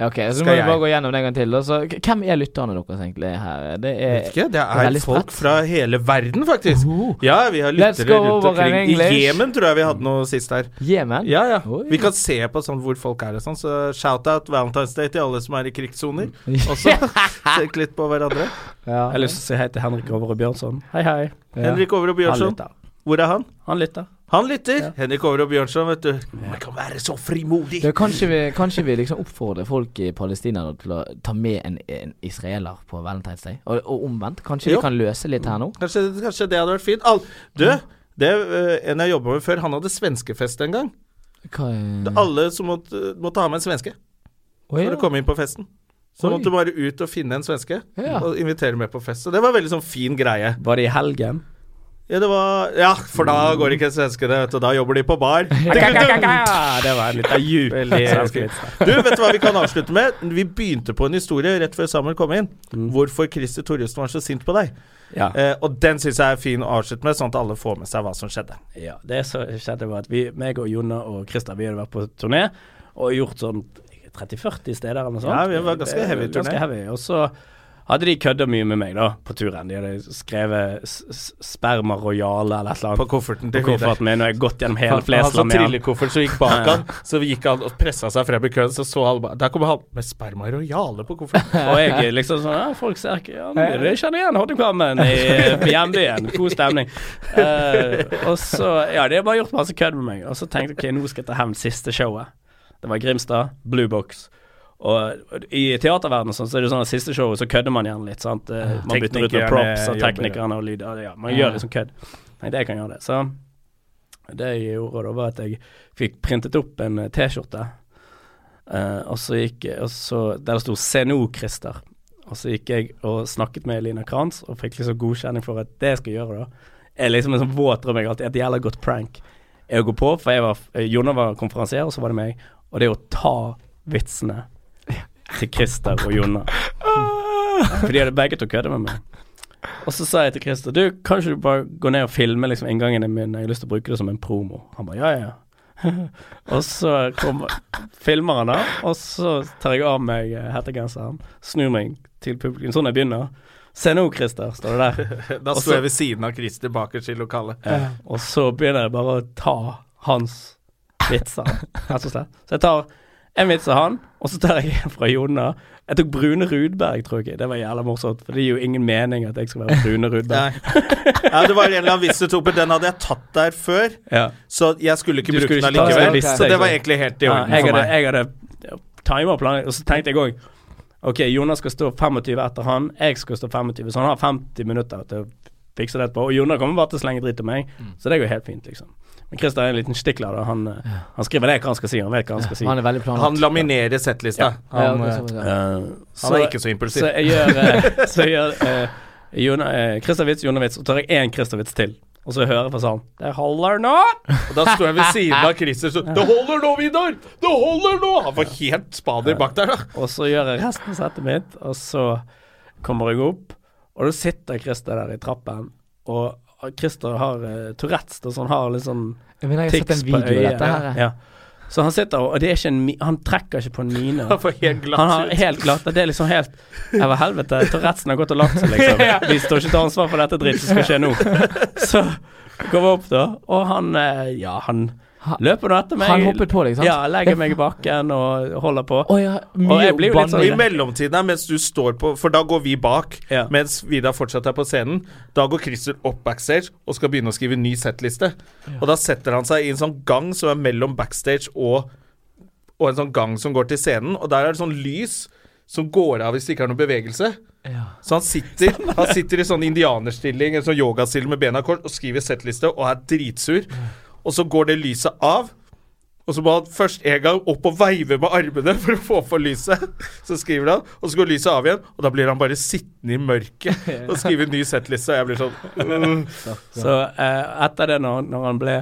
S4: Ja, Ok, så
S1: Skal
S4: må vi
S1: jeg?
S4: bare gå gjennom det en gang til. da. Så, k- hvem er lytterne deres egentlig her? Eh, Det er
S1: Vet ikke, det
S4: er
S1: er
S4: veldig
S1: folk
S4: spredt.
S1: fra hele verden, faktisk.
S4: Oh.
S1: Ja, vi har
S4: Let's
S1: lyttere
S4: go
S1: rundt
S4: over in
S1: omkring. I
S4: English.
S1: Jemen tror jeg vi hadde noe sist her.
S4: Jemen.
S1: Ja, ja.
S4: Oi.
S1: Vi kan se på sånn hvor folk er og sånn, så shout-out Valentine's Day til alle som er i
S4: [laughs]
S1: krigssoner. Også Tenk litt på hverandre.
S4: Ja.
S2: Jeg har lyst til å si hei til Henrik Over og Bjørnson. Hei, hei.
S4: Ja.
S1: Henrik Over og
S2: Han
S1: Bjørnson,
S2: lytter.
S1: hvor er han?
S2: Han lytter.
S1: Han lytter. Henrik Over og Bjørnson, vet du. Man kan være så frimodig.
S4: Du, kanskje, vi, kanskje vi liksom oppfordrer folk i Palestina nå til å ta med en, en israeler på Valentine's Day, og, og omvendt. Kanskje
S1: Jo.
S4: vi kan løse litt her nå?
S1: Kanskje, kanskje det hadde vært fint. Al du, det, eh, en jeg jobba med før, han hadde svenskefest en gang.
S4: Hva er
S1: Alle som måtte, måtte ha med en svenske
S4: Oi,
S1: for å komme inn på festen. Så
S4: Oi.
S1: måtte du bare ut og finne en svenske
S4: Ja.
S1: og invitere med på fest. Så det var veldig sånn fin greie.
S2: Var det i helgen?
S1: Ja, det var, ja for da går ikke svenskene, vet du. Da jobber de på
S4: [laughs]
S1: bar.
S2: [laughs] Ja, det var en liten djup svensk vits.
S1: Du, vet du hva vi kan avslutte med? Vi begynte på en historie rett før Samuel kom inn.
S4: Mm.
S1: Hvorfor Christer Thoresen var så sint på deg.
S2: Ja.
S1: Eh, og den syns jeg er fin å avslutte med, sånn at alle får med seg hva som skjedde.
S2: Eh, Ja, det som skjedde var at vi, meg og Jonna og Christer, vi hadde vært på turné og gjort sånn 30-40 steder eller noe sånt.
S1: Ja, vi var ganske
S2: Det-
S1: heavy turné.
S2: Ganske heavy. Og så hadde de kødda mye med meg da, på turen. De hadde skrevet s- s- Sperma Royale eller et eller
S1: På
S2: annet
S1: kofferten
S2: på
S1: til Vidar.
S2: kofferten min, og jeg har gått gjennom hele
S1: Han, han så
S2: Flesland med han.
S1: trillekoffert som
S2: [laughs]
S1: gikk bak han, så gikk han og pressa seg frem i køen, så så alle bare Der kommer han med sperma royale på kofferten. [laughs]
S2: Og jeg er liksom sånn ja, Folk ser ikke ja, men Jeg kjenner igjen Hoddekammen
S1: [laughs]
S2: i på hjembyen. God stemning. Eh, og så Ja, de har bare gjort masse kødd med meg. Og så tenkte jeg ok, nå skal jeg ta hevn siste showet. Det var Grimstad, Blue Box. Og i teaterverdenen og sånn, så er det sånn at siste showet så kødder man gjerne litt. sant? Eh, Man bytter ut med
S1: Teknikerne
S2: props og
S1: jobber, ja.
S2: teknikerne og lyd. og Ja, man
S4: Ja.
S2: gjør liksom kødd. Tenkte jeg kan gjøre det. Så det jeg gjorde da, var at jeg fikk printet opp en eh, T-skjorte. Eh, og så gikk og så, Der det sto 'Se nå, Christer'. Og så gikk jeg og snakket med Elina Kranz og fikk liksom godkjenning for at det jeg skal gjøre, da, er liksom en sånn våt drøm jeg alltid Et jævla godt prank jeg går på, for jeg var eh, Jonna var konferansier, og så var det meg. Og det å ta vitsene til Christer og Jonna. For de hadde begge to kødda med meg. Og så sa jeg til Christer Du, kanskje du bare går ned og filmer liksom inngangene mine? Jeg har lyst til å bruke det som en promo. Han bare ja, ja, [laughs] ja. og så kommer filmer han da, og så tar jeg av meg eh, hettegenseren, snur meg til publikum. Sånn jeg begynner. Se nå, Christer, står det der.
S1: Da sto jeg ved siden av Christer bakerst i lokalet.
S2: Og så begynner jeg bare å ta hans vitser, rett og slett. Så jeg tar en vits av han, og så tar jeg en fra Jonna. Jeg tok Brune Rudberg, tror jeg. Det var jævla morsomt, for det gir jo ingen mening at jeg skal være Brune
S1: Nei.
S2: Rudberg.
S1: Ja, det var en eller annen vits du tok, men den hadde jeg tatt der før.
S2: Ja.
S1: Så jeg skulle ikke
S2: Du
S1: bruke
S2: skulle
S1: den
S2: ikke ta
S1: allikevel.
S2: den lista,
S1: Så det
S2: ikke
S1: var
S2: sant?
S1: egentlig helt i
S2: Ja,
S1: orden
S2: jeg
S1: for
S2: hadde,
S1: meg.
S2: jeg hadde timer planlagt, og så tenkte jeg òg Ok, Jonas skal stå 25 etter han, jeg skal stå 25, så han har 50 minutter til å fikse det etterpå. Og Jonas kommer bare til å slenge dritt om meg,
S1: Mm.
S2: så det går helt fint, liksom. Men Christer er en liten stikler, da. Han, eh, han skriver ned hva han skal si, han vet hva han skal si.
S4: Han er veldig planlagt.
S1: Han laminerer settlista.
S4: Ja,
S1: Han, eh,
S4: akkurat sånn, ja.
S1: han er ikke så impulsiv.
S2: Så jeg gjør, eh, så jeg gjør eh, Jona, eh, Kristavits, Jonavits, og tar jeg én Kristavits til. Og så hører jeg fra salen Det holder nå!
S1: Og da står jeg ved siden av Christer så Det holder nå, Vidar! Det holder nå! Han var helt spader bak der, da.
S2: Og så gjør jeg resten av settet mitt, og så kommer jeg opp. Og da sitter Christer der i trappen, og Christer har eh, Tourettes, da, så han har litt sånn
S4: Jeg mener, jeg har sett
S2: tics
S4: en
S2: på
S4: video av
S2: øyet.
S4: dette her. jeg.
S2: Ja. Så han sitter og, og det er ikke en mi han trekker ikke på en mine.
S1: [laughs] Han var helt glatt
S2: Han har
S1: ut.
S2: helt glatt Det er liksom helt Jeg var helvete, Touretzen har gått og
S1: [laughs]
S2: lagt seg, liksom. Vi står ikke til ansvar for dette dritt som skal skje nå. Så går vi opp, da, og han eh, Ja, han løper nå etter meg.
S4: Han hoppet på deg, sant?
S2: Ja, legger meg i bakken og holder på.
S4: Å ja,
S2: Og
S4: mye
S2: jeg blir jo litt sånn-
S1: Og
S4: oppblanding.
S1: I mellomtiden her, mens du står på For da går vi bak,
S2: Ja.
S1: mens Vidar fortsatt er på scenen. Da går Christer opp backstage og skal begynne å skrive ny settliste. Og da setter han seg i en sånn gang som er mellom backstage og, og en sånn gang som går til scenen. Og der er det sånn lys som går av hvis det ikke er noen bevegelse. Så han sitter, han sitter i sånn indianerstilling, en sånn yogastilling med bena kort, og skriver settliste og er dritsur. Og så går det lyset av. Og så må han først en gang opp og veive med armene for å få på lyset. Så skriver han, og så går lyset av igjen, og da blir han bare sittende i mørket og skrive en ny settliste. Og jeg blir sånn øh.
S2: Så eh, etter det, når, når han ble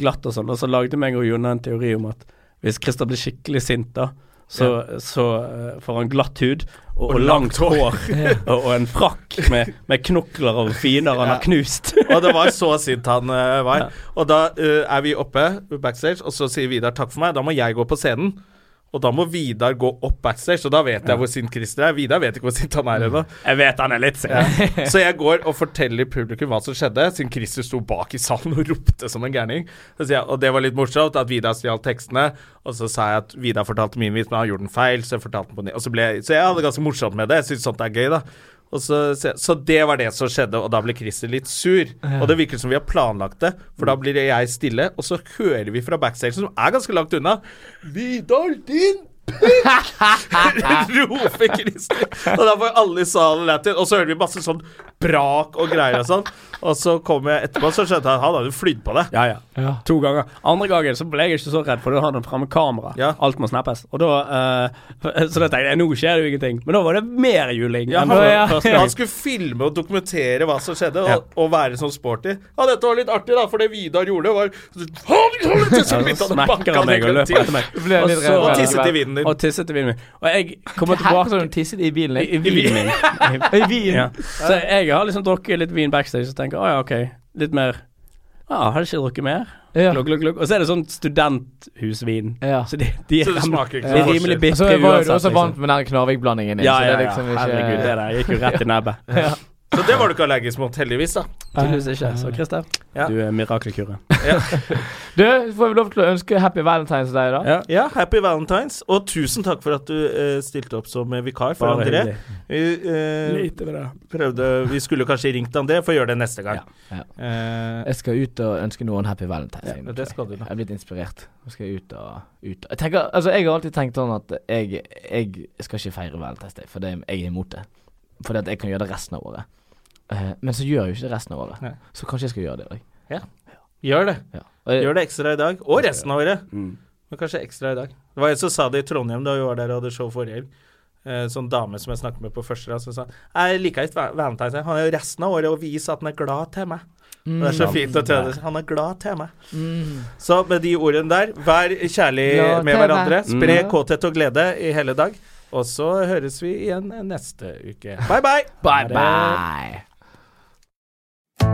S2: glatt og sånn, da, så lagde meg og Jonna en teori om at hvis Christer blir skikkelig sint, da, så, så eh, får han glatt hud og, og, langt hår [laughs] og, og en frakk med, med knokler og fiender han har knust. [laughs]
S1: Og det var så sint han eh, var. Og da eh, er vi oppe backstage, og så sier Vidar takk for meg. Da må jeg gå på scenen. Og da må Vidar gå opp backstage, og da vet jeg hvor sint Christer er. Vidar vet ikke hvor sint han er ennå.
S2: Jeg vet han er litt sint.
S1: Så jeg går og forteller publikum hva som skjedde, siden Christer sto bak i salen og ropte som en gærning. Så sier jeg- Og det var litt morsomt at Vidar stjal tekstene, og så sa jeg at Vidar fortalte min vits, men han gjorde den feil, så jeg fortalte den på ny. Og så, ble jeg, så jeg hadde det ganske morsomt med det. Jeg syns sånt er gøy, da. Og så, se- så det var det som skjedde, og da ble Christer litt sur. Og det virker som vi har planlagt det, for da blir jeg stille, og så hører vi fra backstage, som er ganske langt unna Vidar, din [laughs] Roper Christer. Og da får alle i salen lættis. Og så hører vi masse sånn brak og greier og sånn. Og så kom jeg etterpå, så skjønte jeg at han hadde flydd på det.
S2: Ja, ja, To ganger. Andre gangen så ble jeg ikke så redd, for da hadde han framme kamera.
S1: Ja.
S2: Alt må snappes. Og da, eh, [laughs] så da tenkte jeg nå skjer det jo ingenting. Men da var det mer juling. enn
S1: han,
S2: for første gang.
S1: han skulle filme og dokumentere hva som skjedde, og, og være sånn sporty. Ja, dette var litt artig, da, for det Vidar gjorde, var sånn, Så
S2: Ja,
S1: begynte
S2: så
S1: han å banke
S2: smekker han meg og løper etter meg.
S4: Ble jeg
S2: Og
S4: litt
S2: så-
S4: redd.
S1: Og tisset i vinen din.
S2: Og tisset i bilen min. Og jeg kommer
S4: Her
S2: tilbake sånn
S4: har du tisset i bilen
S2: I, i
S4: din.
S2: vinen min.
S4: [laughs] I vin.
S2: Ja. Så jeg har liksom drukket litt vin backstage og tenker å ja, ok, litt mer Ja, har jeg ikke drukket mer?
S4: Ja.
S2: Glugg, glugg, glugg. Og så er det sånn studenthusvin.
S4: Ja.
S2: Så de, de
S1: Så det
S2: er
S1: smaker ikke
S2: de er
S1: så
S2: rimelig
S1: forskjell.
S2: bitre
S4: Så jeg var jo også
S2: liksom.
S4: vant med den Knarvik-blandingen din.
S2: Ja, ja,
S4: så det
S2: ja.
S4: er liksom ikke
S2: Herregud, det der gikk jo rett i nebbet.
S1: Så det var du ikke allergisk mot, heldigvis, da.
S2: Tydeligvis ikke. Så Christer,
S1: Ja.
S2: du er mirakelkuren.
S4: Du, får vi lov til å ønske happy valentines til deg, da?
S2: Ja.
S1: Ja, happy valentines, og tusen takk for at du eh, stilte opp som eh, vikar for
S2: Bare
S1: André.
S2: hyggelig.
S1: Vi, eh, prøvde, vi skulle kanskje ringt André, for å gjøre det neste gang.
S4: Ja,
S1: Eh,
S4: Jeg skal ut og ønske noen happy valentines.
S1: Ja, det skal du da.
S4: Jeg er blitt inspirert. Nå skal jeg ut og ut. Jeg, tenker, altså, jeg har alltid tenkt sånn at jeg, jeg skal ikke feire valentines day, for det, jeg er imot det. Fordi at jeg kan gjøre det resten av året. Eh, men så gjør jeg jo ikke det resten av året.
S1: Nei.
S4: Så kanskje jeg skal gjøre det òg.
S1: gjør det.
S4: Ja. Og jeg-
S1: Gjør det ekstra i dag, og resten av året. Men kanskje ekstra i dag. Det var en som sa det i Trondheim da vi var der og hadde show forrige helg. Eh, sånn dame som jeg snakket med på første rad, som sa Jeg liker ikke va- Valentine's Day. Han er jo resten av året og viser at han er glad til meg.
S4: Mm.
S1: Og det er så fint å tøde. Han er glad til meg. Så med de ordene der, vær kjærlig
S4: Glad
S1: med
S4: til
S1: hverandre.
S4: meg.
S1: Spre kåthet og glede i hele dag. Og så høres vi igjen neste uke. Bye, bye!
S4: Bye, bye.